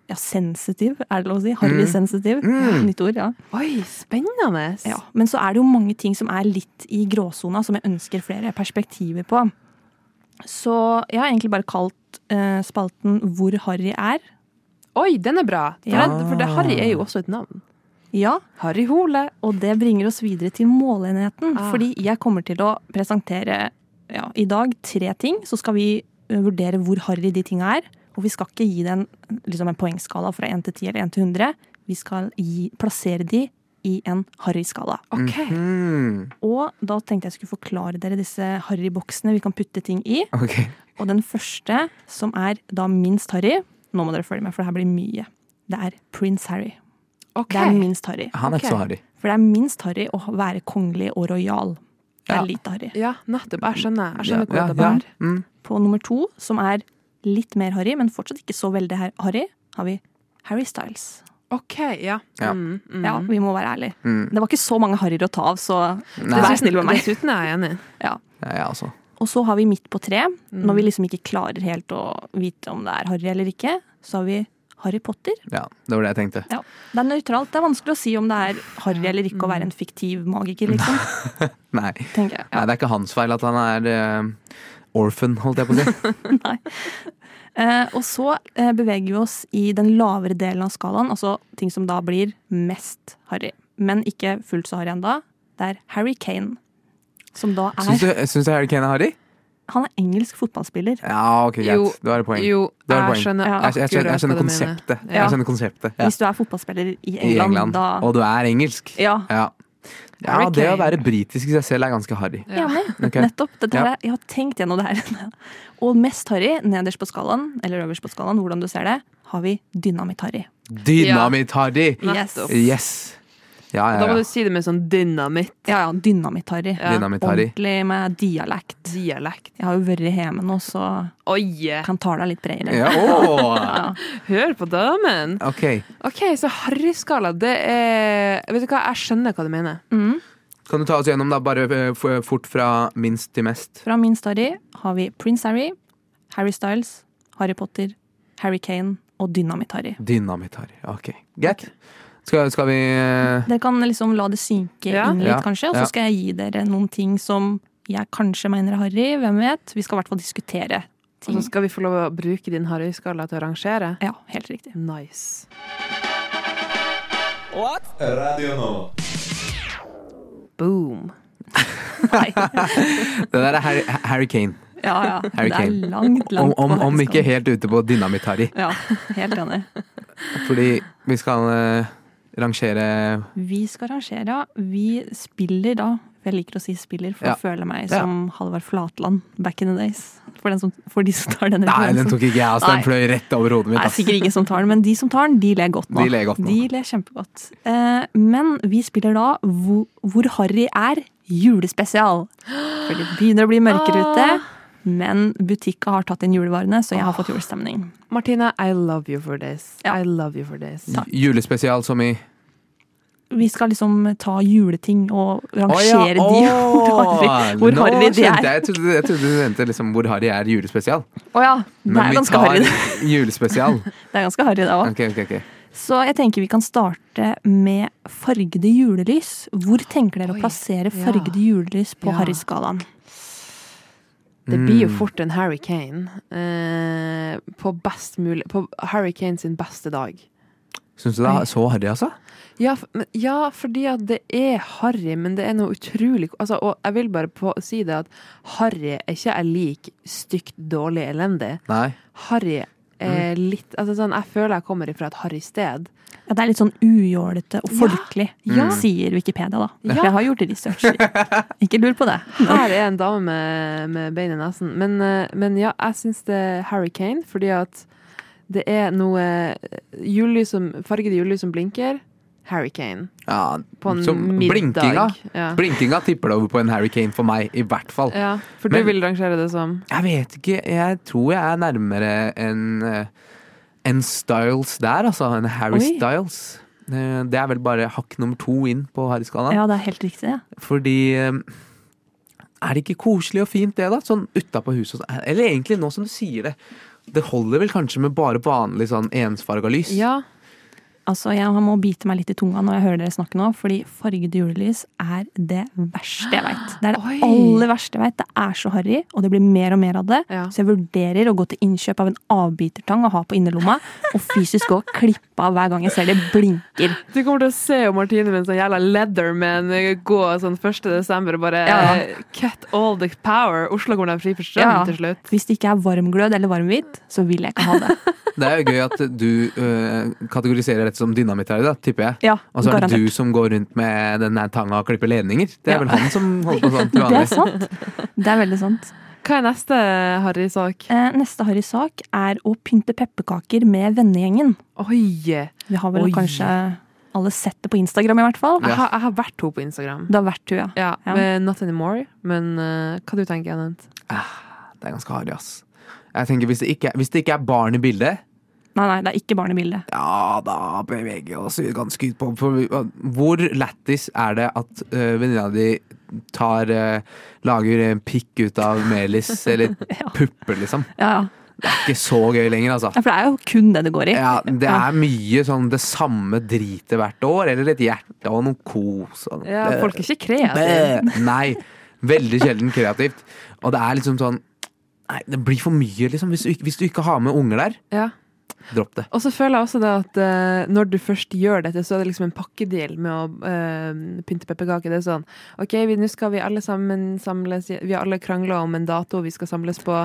ja, sensitiv, er det lov å si? Harry-sensitiv. Nytt ord, ja.
Oi, spennende!
ja. Men så er det jo mange ting som er litt i gråsona, som jeg ønsker flere perspektiver på. Så jeg har egentlig bare kalt eh, spalten Hvor harry er.
Oi, den er bra! For,
Ja.
den, for det, Harry er jo også et navn.
Ja,
Harry Hole.
Og det bringer oss videre til målenheten.
Ah.
Fordi jeg kommer til å presentere ja, i dag tre ting. Så skal vi ø, vurdere hvor harry de tinga er. Og vi skal ikke gi det en, liksom en poengskala fra 1 til 10 eller 1 til 100. Vi skal gi, plassere de i en harryskala.
Ok.
Mm,
Og da tenkte jeg skulle forklare dere disse harryboksene vi kan putte ting i.
ok.
Og den første, som er da minst harry Nå må dere følge med, for det her blir mye. Det er prins Harry.
Ok.
Det er minst harry.
Han er ikke
Ok.
så harry.
For det er minst harry å være kongelig og rojal. Det er
Ja.
lite harry.
Ja, nettopp. Jeg skjønner. Jeg
Ja,
skjønner
ja,
hva det er.
ja. Mm.
På nummer to, som er litt mer harry, men fortsatt ikke så veldig her- harry, har vi Harry Styles.
Ok, ja.
Ja.
Mm, mm.
Ja, vi må være ærlige.
Mm.
Det var ikke så mange harryer å ta av, så
Nei.
vær snill med meg.
Dessuten er jeg enig.
Ja, jeg også.
Og så har vi midt på tre, når vi liksom ikke klarer helt å vite om det er harry eller ikke, så har vi Harry Potter.
Ja, det var det jeg tenkte.
Ja, Det er nøytralt. Det er vanskelig å si om det er harry eller ikke å være en fiktiv magiker, liksom.
Nei.
tenker jeg. Ja.
Nei, det er ikke hans feil at han er eh, orphan, holdt jeg på å si.
Eh, og så eh, beveger vi oss i den lavere delen av skalaen, altså ting som da blir mest harry. Men ikke fullt så harry ennå. Det er Harry Kane. Som da
Syns
er
du, syns du Harry Kane er harry?
Han er engelsk fotballspiller.
Ja, ok, greit.
Jo.
Du har et poeng.
Jo,
Det var
jeg
poeng.
skjønner
Ja.
Jeg, jeg, jeg, jeg
akkurat
skjønner
hva du mener.
konseptet.
Ja.
Jeg skjønner konseptet. Ja.
Hvis du er fotballspiller i
I
England,
England.
da
Og du er engelsk.
Ja,
Ja. ja
Harry
det å
Kane.
være britisk i seg selv er ganske harry.
Ja.
enig.
Ok.
Nettopp. Dette
Ja.
her, er- jeg har tenkt gjennom det her. Og mest harry, nederst på skalaen, eller øverst på skalaen, hvordan du ser det, har vi Dynamitt-Harry.
Dynamitt-harry!
Nettopp.
Yes! Ja,
Da
ja,
må
ja.
du si det med sånn dynamitt
Ja, ja, Dynamitt-Harry.
Ja.
Dynamitt-harry.
Ordentlig med dialekt.
dialekt.
Jeg har jo vært hjemme nå, så
Oi!
kan tale litt bredere.
Ja, åh.
Ja.
Hør på damen!
Ok,
Ok, så harryskala, det er Vet du hva, jeg skjønner hva du mener.
kan du ta oss gjennom da, bare eh, f- fort fra minst til mest?
Fra min story har vi Prince Harry, Harry Styles, Harry Potter, Harry Kane og Dynamitt-Harry.
Dynamitt-harry. Ok, greit.
Mm.
Skal, skal vi eh,
Dere kan liksom la det synke
Ja.
inn litt,
Ja,
kanskje, og
ja.
så skal jeg gi dere noen ting som jeg kanskje mener er harry, hvem vet? Vi skal i hvert fall diskutere
Og så skal vi få lov å bruke din Harøy-skala til å rangere.
Ja, helt riktig.
Nice. Boom.
Nei.
Det der er Harry, Harry Kane.
Ja, ja.
Harry
Det er
Kane.
langt,
Om,
langt
om,
på
om ikke
verdenskall.
helt ute på dynamitt-Harry.
Ja, helt enig.
Fordi vi skal eh, rangere
Vi skal rangere. ja. Vi spiller da Jeg liker å si spiller, for
Ja.
jeg føler meg
Ja.
som Halvard Flatland back in the days. For, den som, for de som tar den
Nei, den tok ikke jeg, altså. Den
Nei.
fløy rett over hodet mitt.
Nei,
ass.
sikkert ingen som tar den, men de som tar den, de ler godt nå.
De ler godt nå.
De ler kjempegodt. Eh, men vi spiller da Hvor, hvor Harry er julespesial. For det begynner å bli mørkere ute, men butikka har tatt inn julevarene, så jeg har fått julestemning.
Martine, I love you for this.
Ja.
I love you for this.
Takk.
Julespesial som i
Vi skal liksom ta juleting og
Å,
rangere de.
ja.
Hvor Harry- hvor
Nå
harry de
skjønte
er.
Jeg, jeg, trodde, jeg trodde du nevnte liksom hvor harry er julespesial.
Å ja, det
Men
er
vi
ganske
tar
harry.
julespesial.
Det er ganske harry, det òg.
Ok, ok, ok.
Så jeg tenker vi kan starte med fargede julelys. Hvor tenker dere
Oi,
å
ja.
plassere fargede julelys på
Ja.
harryskalaen?
Det blir jo
Mm.
fort en Harry Kane eh, på, best mulig, på Harry Kane sin beste dag.
Syns du det er så harry, altså?
Ja, f- men, ja, fordi at det er harry, men det er noe utrolig altså, Og jeg vil bare på, si det at harry er ikke jeg lik stygt, dårlig, elendig.
Nei.
Harry er litt altså, sånn, Jeg føler jeg kommer ifra et harry sted.
Ja, det er litt sånn ujålete og
Ja.
folkelig,
Mm.
Ja.
sier Wikipedia, da.
Ja.
For jeg har gjort research. Ikke lur på det.
Her er en dame med, med bein i nesen. Men, eh, men ja, jeg syns det er Harry Kane, fordi at det er noe julelys som Fargede julelys som blinker. Harry Kane.
Ja,
På en
så
middag.
Blinkinga,
Ja.
blinkinga tipper det over på en Harry Kane for meg, i hvert fall.
ja, for
Men-
du vil rangere det som
Jeg vet ikke, jeg tror jeg er nærmere en, eh, en Styles der, altså. En Harry
Oi.
Styles. Eh, Det er vel bare hakk nummer to inn på harryskalaen.
Ja, det er helt riktig. Ja.
Fordi eh, Er det ikke koselig og fint, det, da? Sånn utapå huset. og sånn. Eller egentlig, nå som du sier det, det holder vel kanskje med bare vanlig sånn ensfarga lys?
Ja.
Altså, Jeg må bite meg litt i tunga når jeg hører dere snakke nå, fordi fargede julelys er det verste jeg veit. Det er det
Oi.
aller verste jeg veit. Det er så harry, og det blir mer og mer av det.
Ja.
Så jeg vurderer å gå til innkjøp av en avbitertang å ha på innerlomma, og fysisk gå og klippe av hver gang jeg ser det blinker.
Du kommer til å se jo Martine med en sånn jævla Leatherman gå sånn 1. desember og bare
Ja.
eh, cut all the power. Oslo kommer til å bli fri for strøm
Ja.
til slutt.
Hvis det ikke er varmglød eller varmhvit, så vil jeg ikke ha det.
Det er jo gøy at du eh, kategoriserer dette som dynamitt her, da, tipper jeg.
Ja,
Og så Altså, er det
garantert.
du som går rundt med den der tanga og klipper ledninger. Det er
Ja.
vel han som holder på sånn til
Det er
vanlig.
sant. Det er veldig sant.
Hva er neste harry-sak?
Eh, Neste harry sak er å pynte pepperkaker med vennegjengen.
Oi!
Vi har vel
Oi.
kanskje alle sett det på Instagram, i hvert fall.
Jeg har, jeg har vært henne på Instagram.
Det har vært hun, ja.
Ja,
Ja.
men Not anymore. Men eh, hva du tenker Anent?
Det er ganske harry, ass. Jeg tenker hvis det, ikke, hvis det ikke er barn i bildet,
Nei, nei, det er ikke barn i bildet.
ja, da beveger vi oss ganske ut på for vi- Hvor lættis er det at uh, venninna di tar eh, Lager en pikk ut av melis, eller pupper, liksom?
Ja, ja.
Det er ikke så gøy lenger, altså.
Ja, For det er jo kun det det går i.
Ja, det er mye sånn det samme dritet hvert år, eller et hjerte og noe kos. Og noe.
Eh,
Ja, folk er ikke kreative.
Bæ. Nei, veldig sjelden kreativt. Og det er liksom sånn Nei, det blir for mye, liksom. Hvis du, ikke- hvis du ikke har med unger der,
Ja.
dropp det.
Og så føler jeg også det at eh, når du først gjør dette, så er det liksom en pakkedeal med å eh, pynte pepperkaker. Det er sånn OK, vi- nå skal vi alle sammen samles Vi har alle krangla om en dato vi skal samles på.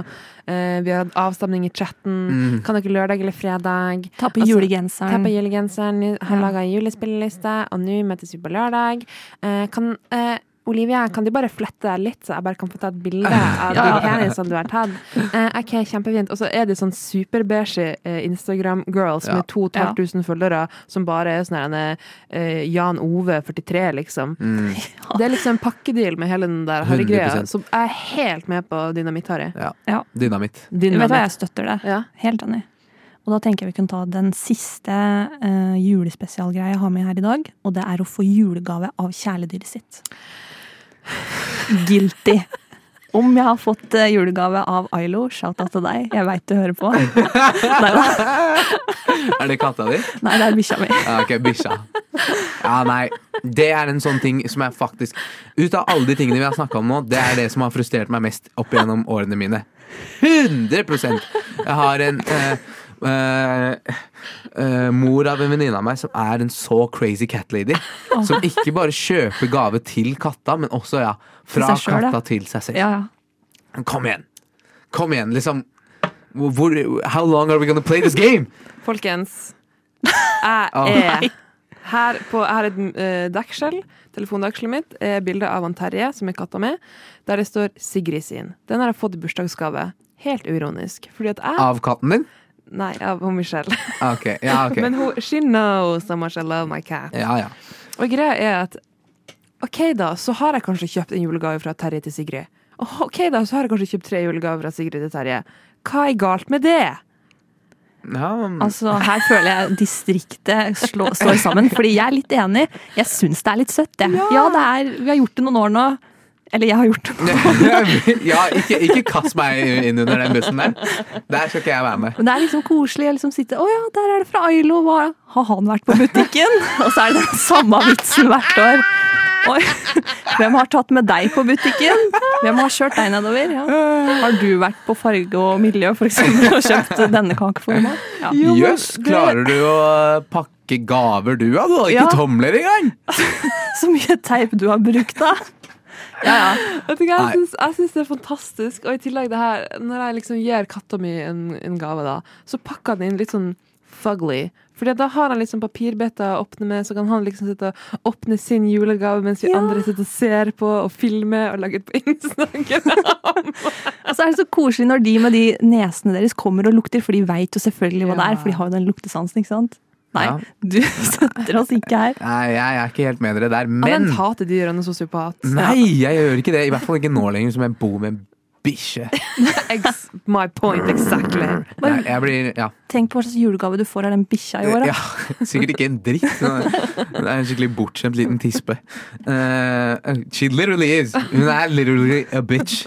Eh, vi har hatt avstemning i chatten. Kan dere lørdag eller fredag?
Ta på
Altså, Ta
julegenseren.
på julegenseren. nu- Har
Ja.
laga julespilleliste, og nå møtes vi på lørdag. Eh, kan eh, Olivia, kan du bare flette deg litt, så jeg bare kan få ta et bilde av de penisene du har tatt? Eh, OK, kjempefint. Og så er det sånn superbeige eh, Instagram-girls
Ja.
med 2500 følgere som bare er sånn her, en, eh, Jan Ove 43, liksom. Det er liksom en pakkedeal med hele den der harrygreia.
100%.
Så jeg er helt med på Dynamitt-Harry.
Ja.
Dynamitt.
Vet du hva, jeg støtter det.
Ja.
Helt enig. Og da tenker jeg vi kunne ta den siste eh, julespesialgreia jeg har med her i dag, og det er å få julegave av kjæledyret sitt. Guilty. Om jeg har fått eh, julegave av Ailo, shout-out til deg. Jeg veit du hører på.
Er det katta di?
Nei, det er bikkja mi.
Ja, Ah, ok, bikkja. Ja, nei. Det er en sånn ting som jeg faktisk Ut av alle de tingene vi har snakka om nå, det er det som har frustrert meg mest opp gjennom årene mine. 100 Jeg har en eh, eh, eh, mor av en venninne av meg som er en så crazy cat lady. Som ikke bare kjøper gave til katta, men også ja, fra
Til seg selv, ja.
katta til seg selv.
Ja, ja.
Kom igjen! Kom igjen, liksom. Hvor, how long are we gonna play this game?
Folkens, jeg er her på Jeg har et eh, deksel. Telefondekselet mitt er bilde av han Terje, som er katta mi, der det står Sigrid sin. Den har jeg fått i bursdagsgave. Helt uironisk. Fordi at jeg
Av katten din? Ah,
Nei, av hun Michelle.
Ok, ja, ok.
Men hun, she knows how much I love my cat.
Ja, ja.
Og greia er at OK, da, så har jeg kanskje kjøpt en julegave fra Terje til Sigrid. Og OK, da, så har jeg kanskje kjøpt tre julegaver fra Sigrid til Terje. Hva er galt med det?
ja men-
Altså, her føler jeg distriktet slå, står sammen, fordi jeg er litt enig. Jeg syns det er litt søtt, jeg. Ja, det er, vi har gjort det noen år nå. Eller jeg har gjort det.
ja, ikke, ikke kast meg inn under den bussen der. Der skal ikke jeg være med.
Men det er liksom koselig å liksom sitte Å ja, der er det fra Ailo. Hva har han vært på butikken? Og så er det den samme vitsen hvert år. Oi, hvem har tatt med deg på butikken? Hvem har kjørt deg nedover? Ja. Har du vært på Farge og Miljø for eksempel, og kjøpt denne kakeforma? Ja.
Jøss, klarer du å pakke gaver du, ja? Du har ikke
Ja.
tomler engang!
Så mye teip du har brukt, da. Ja, ja.
Vet du hva,
Nei.
jeg syns, jeg syns det er fantastisk. Og i tillegg det her, når jeg liksom gir katta mi en, en gave, da, så pakker jeg den inn litt sånn fugly. Fordi da har han liksom papirbiter å åpne med, så kan han liksom sitte og åpne sin julegave mens vi andre sitter og ser på og filmer og lager på Instagram.
Og så Altså, er det så koselig når de med de nesene deres kommer og lukter, for de veit jo selvfølgelig hva det er, for de har jo den luktesansen, ikke sant? Nei,
Ja.
du støtter oss ikke her.
Nei, jeg er ikke helt med dere der,
Han er
men
en hatedyr og en sosiopat.
Nei, jeg gjør ikke det. I hvert fall ikke nå lenger, som jeg bor med en bikkje.
Ex my point exactly.
Nei, Jeg blir Ja.
Tenk på hva slags julegave du får av den bikkja i år.
ja
da.
sikkert ikke en dritt. men Det er en skikkelig bortskjemt liten tispe. Eh, she literally is. Hun er literally a bitch.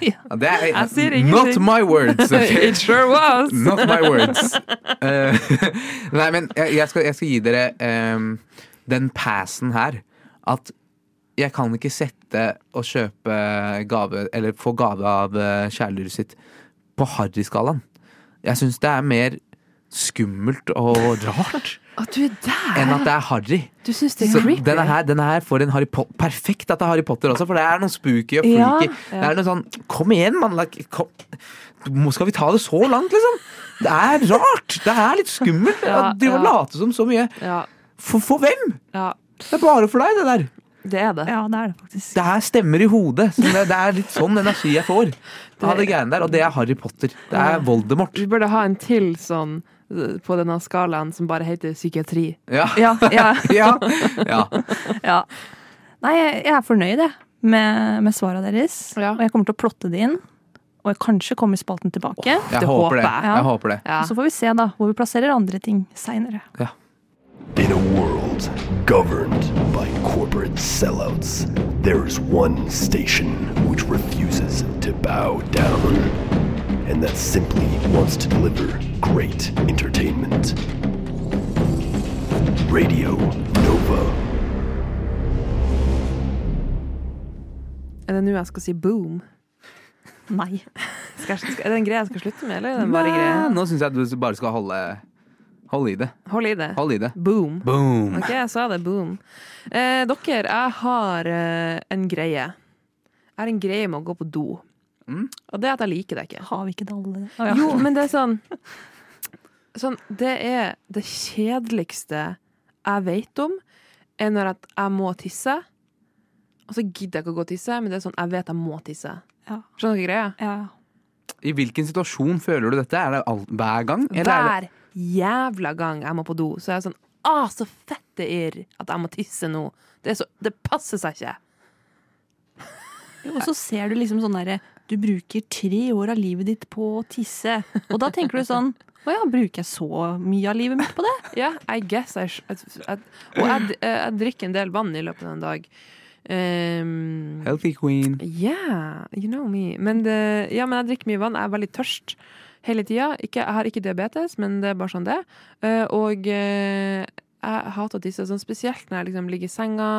Ja.
Det er,
Jeg sier
not
ingenting.
my words. ok?
It sure was.
Not my words. Eh, nei, men jeg, jeg, skal, jeg skal gi dere ehm, den passen her. At jeg kan ikke sette å kjøpe gave, eller få gave av eh, kjæledyret sitt, på harryskalaen. Jeg syns det er mer skummelt og rart
At du er der!
enn at det er harry.
Du syns det
Så
er creepy?
denne her, denne her får en Harry Potter Perfekt at det er Harry Potter også, for det er noe spooky og
Ja,
freaky. Det er noe sånn Kom igjen, mann! Like, kom. Må- Skal vi ta det så langt, liksom? Det er rart! Det er litt skummelt.
Ja,
at De
ja.
later som så mye.
Ja,
For, for hvem?
ja,
Det er bare for deg, det der.
det er det.
ja, det er det faktisk.
Det her stemmer i hodet. Så det, det er litt sånn energi jeg får av det greiene der. Og det er Harry Potter. Det er Voldemort.
Vi burde ha en til sånn eh, på denne skalaen som bare heter psykiatri.
Ja.
Ja, ja,
Ja. ja.
ja. Nei, jeg jeg er fornøyd jeg, med, med svara deres.
Ja.
Og jeg kommer til å plotte det inn. Og jeg kanskje kommer spalten tilbake.
Jeg
Det
håper
håper
det.
jeg.
Ja.
Jeg håper det.
Ja.
Og så får vi se da hvor vi plasserer andre ting seinere.
In a world governed by corporate sellouts, there is one station which refuses to bow down, and that simply wants to deliver great entertainment. Radio Nova.
Er det nå jeg skal si boom?
Nei.
Skal jeg, skal, er det en greie jeg skal slutte med, eller er det bare en greie?
Nei, Eh, Nå syns jeg du bare skal holde Hold i det.
Hold i det.
Hold i det.
Boom.
Boom!
Ok, jeg sa det. Boom. Eh, dere, jeg har eh, en greie. Jeg har en greie med å gå på do.
Mm.
Og det er at jeg liker det ikke.
Har vi ikke det alle? Å, ja.
Jo, men det er sånn, sånn Det er det kjedeligste jeg vet om, er når at jeg må tisse. Og så gidder jeg ikke å gå og tisse, men det er sånn, jeg vet jeg må tisse.
Ja.
Skjønner dere greia?
Ja.
I hvilken situasjon føler du dette? Er det all, hver gang? Eller er det,
Hver jævla gang jeg må på do, så er jeg sånn ah, så fett det er at jeg må tisse nå. Det, er så, det passer seg ikke.
Og så ser du liksom sånn derre Du bruker tre år av livet ditt på å tisse. Og da tenker du sånn Å ja, bruker jeg så mye av livet mitt på det?
Ja, I guess I sh- at- at- Og jeg, d- eh, jeg drikker en del vann i løpet av en dag. Ehm,
Healthy queen.
Yeah, you know me. Men, det, ja, men jeg drikker mye vann. Jeg er veldig tørst hele tida. Ikke, jeg har ikke diabetes, men det er bare sånn det. er. Eh, og eh, jeg hater å tisse, sånn spesielt når jeg liksom ligger i senga.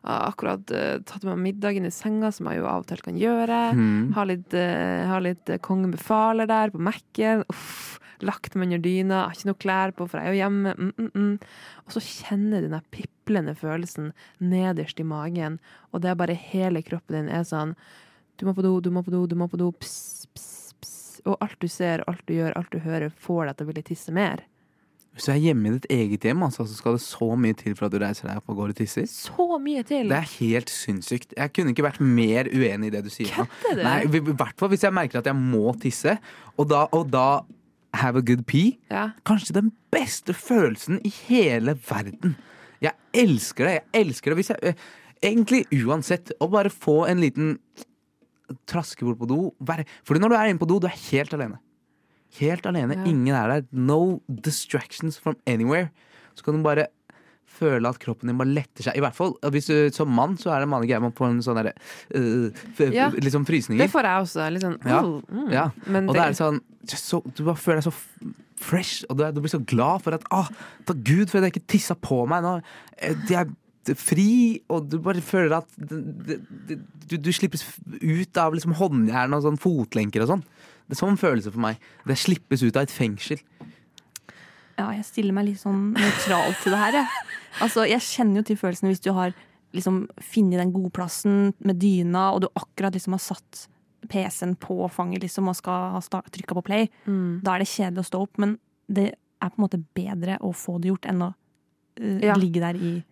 Jeg har akkurat eh, tatt meg middagen i senga, som jeg jo av og til kan gjøre.
Hmm.
Mhm.
Har litt, eh, har litt eh, Kongen befaler der på Mac-en. Uff. Lagt meg under dyna, har ikke noe klær på, for jeg er jo hjemme. Mm, mm, mm. Og så kjenner jeg den der piplende følelsen nederst i magen, og det er bare hele kroppen din er sånn Du må på do, du må på do, du må på do. Pss, pss, pss. Og alt du ser, alt du gjør, alt du hører, får deg til å ville tisse mer.
Hvis du er hjemme i ditt eget hjem, altså, så skal det så mye til for at du reiser deg opp og går og tisser.
Så mye til!
Det er helt sinnssykt. Jeg kunne ikke vært mer uenig i det du sier. nå.
Kødder du?
Nei, I hvert fall hvis jeg merker at jeg må tisse, og da, og da have a good pee.
Ja.
Kanskje den beste følelsen i hele verden. Jeg elsker det. Jeg elsker det hvis jeg eh, Egentlig uansett. Å bare få en liten traske bort på do. Være, fordi når du er inne på do, du er helt alene. Helt alene.
Ja.
Ingen er der. No distractions from anywhere. Så kan du bare føle at kroppen din bare letter seg. I hvert fall eh, hvis du, som mann, så er det en vanlig greie man får en sånn derre øh, f-
Ja.
Liksom frysninger.
Det får jeg også. Litt sånn
Ja.
«Åh, mm».
ja.
Men
og det, er sånn så, Du bare føler deg så f- fresh, og du, er- du blir så glad for at ah, Takk Gud for at jeg ikke tissa på meg nå. Eh, Jeg er fri, og du bare føler at det- det- det- Du, du slippes f- ut av liksom håndjern og sånn fotlenker og sånn. Det er sånn følelse for meg. Det slippes ut av et fengsel.
Ja, jeg stiller meg litt sånn nøytral til det her. Jeg. Altså, jeg kjenner jo til følelsen hvis du har liksom funnet den gode plassen med dyna, og du akkurat liksom har satt PC-en på fanget liksom, og skal ha sta- trykket på play.
sånn-
Mm.
Da er det kjedelig å stå opp, men det er på en måte bedre å få det gjort enn å eh,
Ja.
ligge der i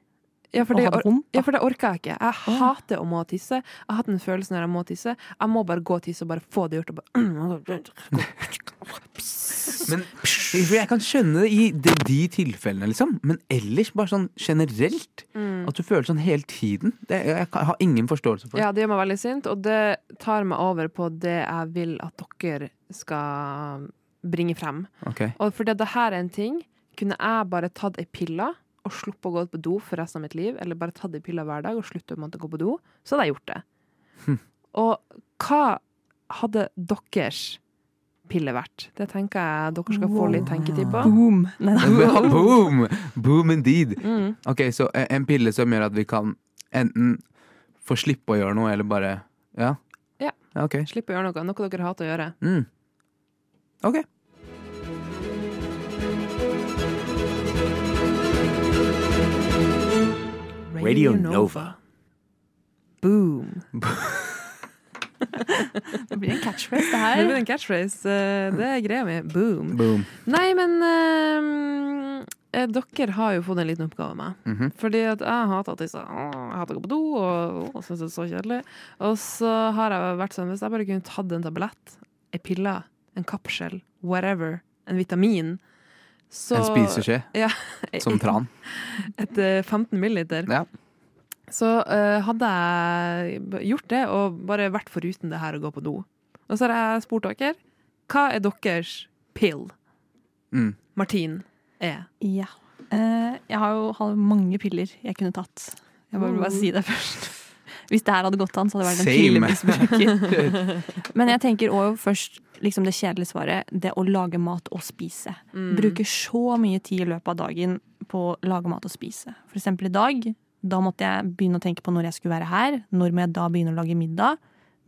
Ja, for, det,
og ha det
or-
vondt.
ja, for det orker jeg ikke. Jeg hater å må tisse. Jeg har hatt en følelse når jeg må tisse. Jeg må bare gå og tisse og bare få det gjort. Og bare,
Men for Jeg kan skjønne det i de, de tilfellene, liksom. Men ellers bare sånn generelt.
Mm.
At du føler sånn hele tiden. Det, jeg, jeg har ingen forståelse for det.
Ja, det gjør meg veldig sint, og det tar meg over på det jeg vil at dere skal bringe frem.
Ok.
Og fordi det her er en ting, kunne jeg bare tatt ei pille og sluppet å gå på do for resten av mitt liv, eller bare tatt ei pille hver dag og sluttet å måtte gå på do, så hadde jeg gjort det.
Hm.
Og hva hadde deres pille vært? Det tenker jeg dere skal få litt tenketid på.
Boom!
Ja,
Nei,
Boom! Boom indeed.
Mm.
Ok, så eh, en pille som gjør at vi kan enten få slippe å gjøre noe, eller bare Ja,
Ja.
ja ok.
Slipp å gjøre noe. Noe dere hater å gjøre.
Mm. Ok.
Radio Nova.
Boom.
Det blir en catchphrase, det
Det blir
her.
en catchphrase. eh, Det er greia mi. Boom.
Boom.
Nei, men eh, eh, dere har jo fått en liten oppgave av meg.
Mhm.
Fordi at jeg hater at disse Åh, Jeg hater å gå på do og, og syns det er så kjedelig. Og så har jeg vært sånn Hvis jeg bare kunne tatt en tablett, ei pille, en kapsel, whatever, en vitamin så,
En spiseskje.
Ja.
Som tran.
Et eh, 15 milliliter.
Ja.
Så eh, hadde jeg b- gjort det, og bare vært foruten det her å gå på do. Og så har jeg spurt dere hva er deres pill?
Mm.
Martin er
Ja. Eh, jeg har jo har mange piller jeg kunne tatt. Jeg bare, vil bare si det først. Hvis det her hadde gått an, så hadde jeg vært en
Same.
pillemisbruker. Men jeg tenker også først liksom det kjedelige svaret. Det å lage mat og spise.
Mm.
Bruker så mye tid i løpet av dagen på å lage mat og spise. For eksempel i dag. Da måtte jeg begynne å tenke på når jeg skulle være her. Når må jeg da begynne å lage middag?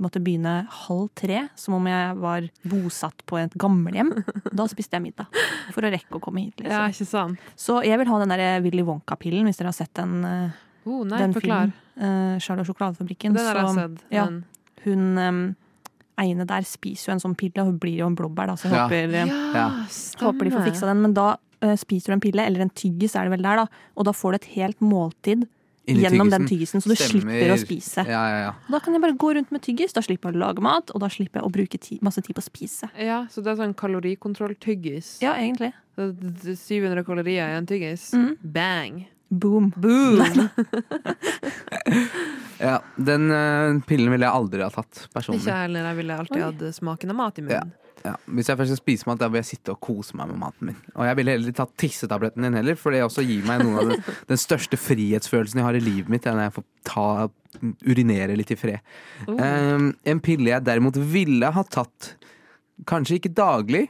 Måtte begynne halv tre, som om jeg var bosatt på et gamlehjem. Da spiste jeg middag. For å rekke å komme hit, liksom.
Ja, ikke sant?
Så jeg vil ha den der eh, Willy Wonka-pillen, hvis dere har sett den, eh,
Oh, nei,
den
forklar.
filmen. Eh, Charlotte og sjokoladefabrikken.
Den har jeg
så-
sett,
Ja,
men-
hun eh, Eine der spiser jo en sånn pille, og hun blir jo en blåbær, da, så jeg
Ja.
håper, eh,
Ja,
håper de får
stemmer.
fiksa den. Men da eh, spiser du en pille, eller en tyggis er det vel der, da, og da får du et helt måltid
Inni
gjennom den
tyggisen.
tyggisen, så du
Stemmer.
slipper å spise.
Ja, ja, ja.
Da kan jeg bare gå rundt med tyggis, da slipper jeg å lage mat, og da slipper jeg å bruke ti masse tid på å spise.
Ja, så det er sånn kalorikontroll-tyggis.
Ja, egentlig. Mm.
Det er 700 kalorier i en tyggis. Bang!
Boom.
Ja, den eh, pillen ville jeg aldri ha tatt, personlig.
Ikke jeg heller. Jeg ville alltid hatt smaken av mat i
Ja.
munnen.
Ja. Hvis jeg først skal spise mat, da vil jeg sitte og kose meg med maten min. Og jeg ville heller ikke tatt tissetabletten din heller, for det også gir meg noen av den, den største frihetsfølelsen jeg har i livet mitt, er når jeg får ta, urinere litt i fred.
Oh.
Ehm, en pille jeg derimot ville ha tatt, kanskje ikke daglig,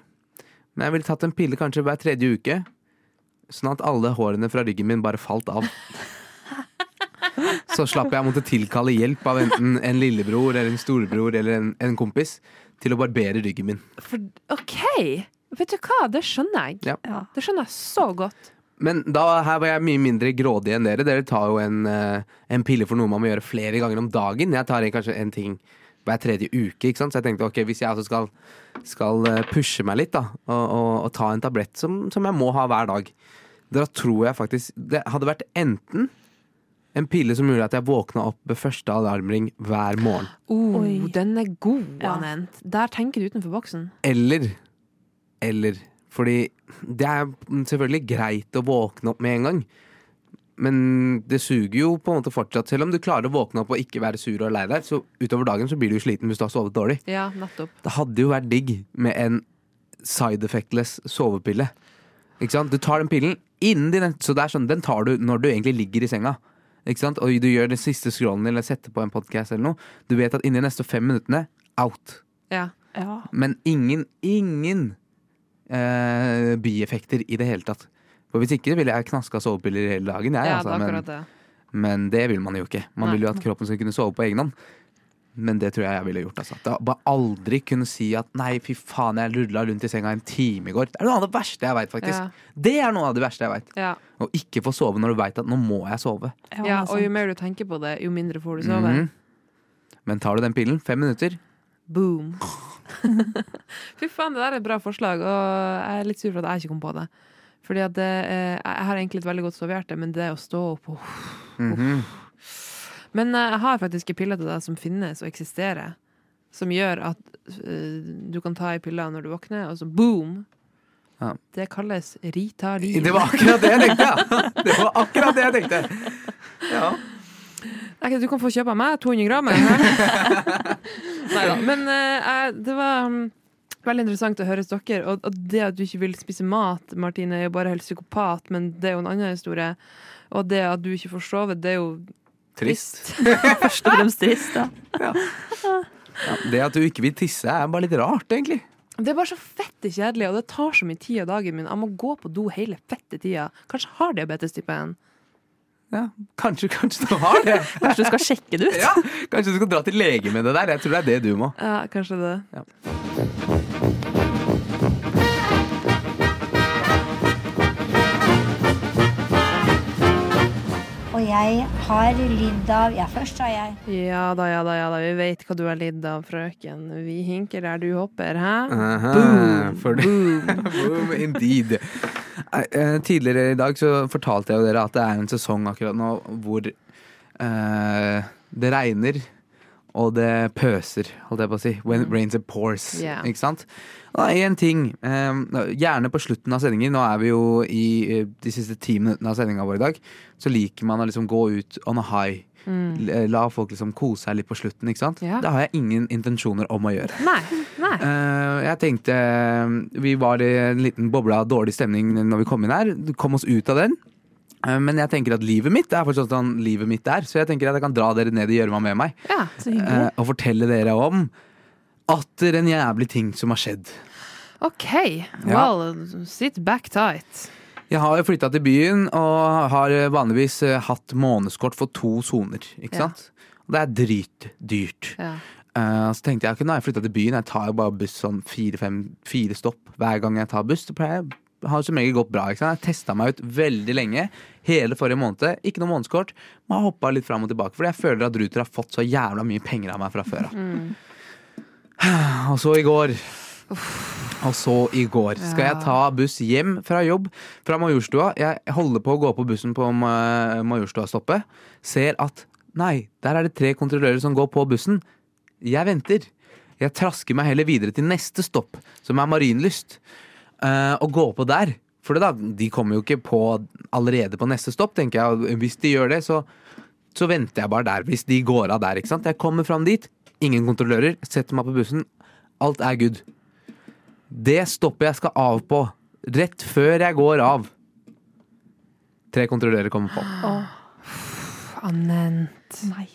men jeg ville tatt en pille kanskje hver tredje uke, sånn at alle hårene fra ryggen min bare falt av. Så slapp jeg å måtte tilkalle hjelp av enten en lillebror eller en storebror eller en, en kompis til å barbere ryggen min.
For, OK! Vet du hva, det skjønner jeg.
Ja.
Det skjønner jeg så godt.
Men da, her var jeg mye mindre grådig enn dere. Dere tar jo en, eh, en pille for noe man må gjøre flere ganger om dagen. Jeg tar en, kanskje en ting hver tredje uke. Ikke sant? Så jeg tenkte ok, hvis jeg også skal, skal eh, pushe meg litt da, og, og, og ta en tablett som, som jeg må ha hver dag, da tror jeg faktisk Det hadde vært enten en pille som gjorde at jeg våkna opp ved første alarmring hver morgen,
Oh, den er god, Anent. Der tenker du utenfor boksen.
eller Eller Fordi det er selvfølgelig greit å våkne opp med en gang. Men det suger jo på en måte fortsatt. Selv om du klarer å våkne opp og ikke være sur og lei deg, så utover dagen så blir du jo sliten hvis du har sovet dårlig.
Ja, nettopp.
Det hadde jo vært digg med en side effectless sovepille. Ikke sant? Du tar den pillen innen din Så det er sånn, den tar du når du egentlig ligger i senga. Ikke sant? Og du gjør den siste scrollen eller setter på en podkast eller noe. Du vet at innen de neste fem minuttene out.
Ja.
Ja.
Men ingen, ingen eh, bieffekter i det hele tatt. For hvis ikke ville jeg knaska sovepiller hele dagen. Jeg,
Ja, det
altså,
er
men,
akkurat det.
men det vil man jo ikke. Man
Nei.
vil jo at kroppen skal kunne sove på egen hånd. Men det tror jeg jeg ville gjort. Altså. Da, bare aldri kunne si at 'nei, fy faen, jeg rulla rundt i senga en time i går'. Det er noe av det verste jeg veit, faktisk.
Ja.
Det er noe av det verste jeg veit.
Ja.
Å ikke få sove når du veit at 'nå må jeg sove'.
Ja,
altså.
og jo mer du tenker på det, jo mindre får du sove.
Mhm. Men tar du den pillen, fem minutter
Boom.
Fy faen, det der er et bra forslag, og jeg er litt sur for at jeg ikke kom på det. Fordi at det, eh, Jeg har egentlig et veldig godt sovehjerte, men det å stå opp uff.
Mhm.
Men eh, jeg har faktisk en pille til deg som finnes og eksisterer. Som gjør at eh, du kan ta ei pille når du våkner, og så boom!
Ja.
Det kalles Ritalin.
Det var akkurat det jeg tenkte! ja. Det var akkurat det jeg tenkte. Ja.
Nei, Du kan få kjøpe av meg 200 gram. Nei da. Men eh, jeg, det var mm, veldig interessant å høre hos dere. Og, og det at du ikke vil spise mat, Martine, er jo bare helt psykopat, men det er jo en annen historie. Og det at du ikke får sove, det er jo
Trist.
Først og fremst trist, da.
Ja, det at du ikke vil tisse, er bare litt rart, egentlig.
Det er bare så fette kjedelig, og det tar så mye tid av dagen min. Jeg må gå på do hele fette tida. Kanskje har diabetes type 1.
Ja, kanskje, kanskje du har det.
Kanskje du skal sjekke det ut?
Ja, kanskje du skal dra til lege med det der. Jeg tror det er det du må.
Ja, kanskje det.
Og jeg har lidd av Ja, først har jeg
Ja da, ja da, ja da. Vi vet hva du har lidd av, frøken. Vi hinker der du hopper, hæ?
Aha,
Boom,
for det- Boom, indeed. Eh, eh, Tidligere i dag så fortalte jeg jo dere at det er en sesong akkurat nå hvor eh, det regner og det pøser, holdt jeg på å si. When
Mm.
it rains it pours.
Yeah.
Ikke sant? Og det er én ting, eh, gjerne på slutten av sendingen, nå er vi jo i eh, de siste ti minuttene av sendinga vår i dag, så liker man å liksom gå ut on a high.
Mm.
L- La folk liksom kose seg litt på slutten, ikke sant?
Ja.
Det har jeg ingen intensjoner om å gjøre.
Nei. Nei.
Eh, jeg tenkte eh, Vi var i en liten boble av dårlig stemning når vi kom inn her. Kom oss ut av den. Eh, men jeg tenker at livet mitt er fortsatt sånn livet mitt er. Så jeg tenker at jeg kan dra dere ned i gjørma med meg.
Ja, så hyggelig.
eh, og fortelle dere om atter en jævlig ting som har skjedd.
OK. Well, sit back tight.
Jeg har flytta til byen og har vanligvis eh, hatt månedskort for to soner. Ikke
Ja.
sant? Og det er dritdyrt.
Ja.
Eh, så tenkte jeg ok, nå har jeg flytta til byen, jeg tar jo bare buss sånn fire, fem, fire stopp hver gang jeg tar buss. Det pleier, har som regel gått bra. Ikke sant? Jeg testa meg ut veldig lenge, hele forrige måned. Ikke noe månedskort. Men har hoppa litt fram og tilbake, fordi jeg føler at Ruter har fått så jævla mye penger av meg fra før av. Og så i går. Og så i går. Skal jeg ta buss hjem fra jobb fra Majorstua? Jeg holder på å gå på bussen på Ma- Majorstua-stoppet. Ser at nei, der er det tre kontrollører som går på bussen. Jeg venter. Jeg trasker meg heller videre til neste stopp, som er Marienlyst. eh, og går på der. For for det, da. De kommer jo ikke på allerede på neste stopp, tenker jeg. Og hvis de gjør det, så, så venter jeg bare der. Hvis de går av der, ikke sant. Jeg kommer fram dit, ingen kontrollører, setter meg på bussen. Alt er good. Det stoppet jeg skal av på, rett før jeg går av Tre kontrollører kommer på.
Anent.
Nei.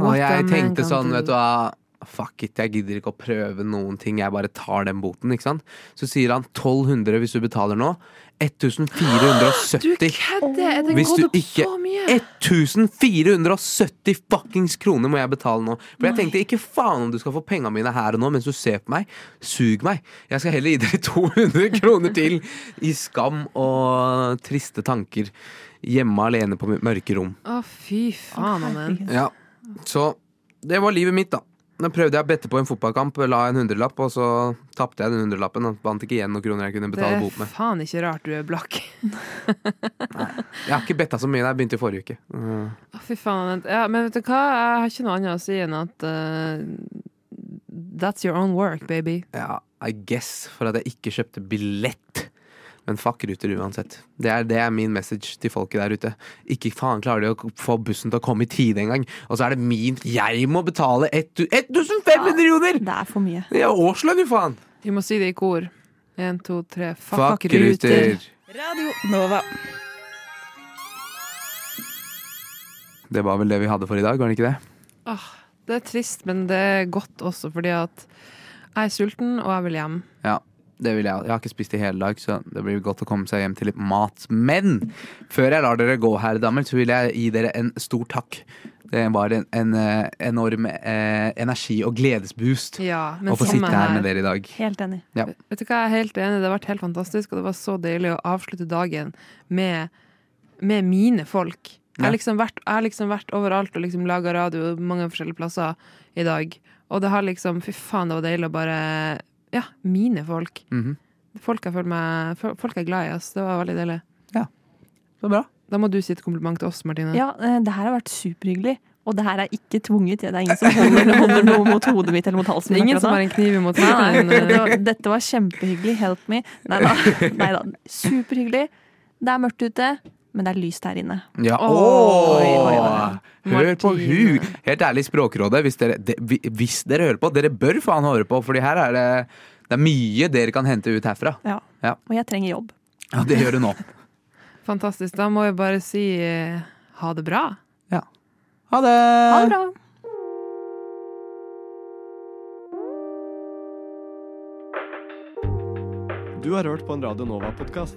Og jeg tenkte sånn, vet du hva Fuck it, jeg gidder ikke å prøve noen ting. Jeg bare tar den boten, ikke sant. Så sier han 1200 hvis du betaler nå. 1470.
Du kødder! Er den
Hvis
gått
du
opp
ikke
så mye?
1470 fuckings kroner må jeg betale nå. For jeg
Nei.
tenkte ikke faen om du skal få penga mine her og nå mens du ser på meg. Sug meg. Jeg skal heller gi dere 200 kroner til i skam og triste tanker. Hjemme alene på mitt mørke rom.
Å, fy faen, Anent.
Ja, så det var livet mitt, da. Da prøvde jeg å bette på en fotballkamp, la en hundrelapp, og så tapte jeg den hundrelappen. Og vant ikke igjen noen kroner jeg kunne
Det
betale
er
bot med.
faen ikke rart du er blakk.
Jeg har ikke betta så mye, jeg begynte i forrige uke. Mm.
Å, Fy faen. Anette. Ja, men vet du hva? Jeg har ikke noe annet å si enn at eh, That's your own work, baby.
Ja, I guess for at jeg ikke kjøpte billett. Men fuck ruter uansett. Det er, det er min message til folket der ute. Ikke faen klarer de å få bussen til å komme i tide engang. Og så er det min Jeg må betale 1500 kroner!
Det er for mye.
Det er årslønn, jo faen!
Vi må si det i kor. Én, to, tre.
Fuck, ruter!
Radio Nova.
Det var vel det vi hadde for i dag, var det ikke det?
Åh, det er trist, men det er godt også, fordi at jeg er sulten, og jeg vil hjem.
Ja, det vil jeg. Jeg har ikke spist i hele dag, så det blir godt å komme seg hjem til litt mat. Men før jeg lar dere gå, herre damer, så vil jeg gi dere en stor takk. Det var en, en eh, enorm eh, energi- og gledesboost
Ja, men
å få
samme
sitte her
her.
med dere i dag.
Helt enig.
Ja.
Vet du hva, jeg er helt enig. Det har vært helt fantastisk, og det var så deilig å avslutte dagen med, med mine folk. Jeg
Ja.
har liksom vært, jeg har liksom vært overalt og liksom laga radio mange forskjellige plasser i dag. Og det har liksom Fy faen, det var deilig å bare Ja, mine folk.
Mhm.
Folk jeg føler meg fol- Folk jeg er glad i, ass. Det var veldig deilig.
Ja. Så bra.
Da må du si et kompliment til oss, Martine.
Ja, eh, det her har vært superhyggelig. Og det her er ikke tvunget. Det er ingen som holder, holder noe mot hodet mitt eller mot halsen
Det er
min.
ingen
akkurat
som
nå.
har en kniv imot
Nei, nei,
halsen.
det var- Dette var kjempehyggelig. Help me. Nei da. Nei da. Superhyggelig. Det er mørkt ute, men det er lyst her inne.
Ja.
Oi, oi,
Åh! Hør på hu! Helt ærlig, Språkrådet, hvis dere, de, vi- hvis dere hører på, dere bør faen høre på, Fordi her er det, det er mye dere kan hente ut herfra.
Ja.
Ja,
Og jeg trenger jobb.
ja det gjør du nå.
Fantastisk. Da må vi bare si eh, ha det bra.
Ha det!
Ha det bra.
Du har hørt på en Radio Nova-podkast.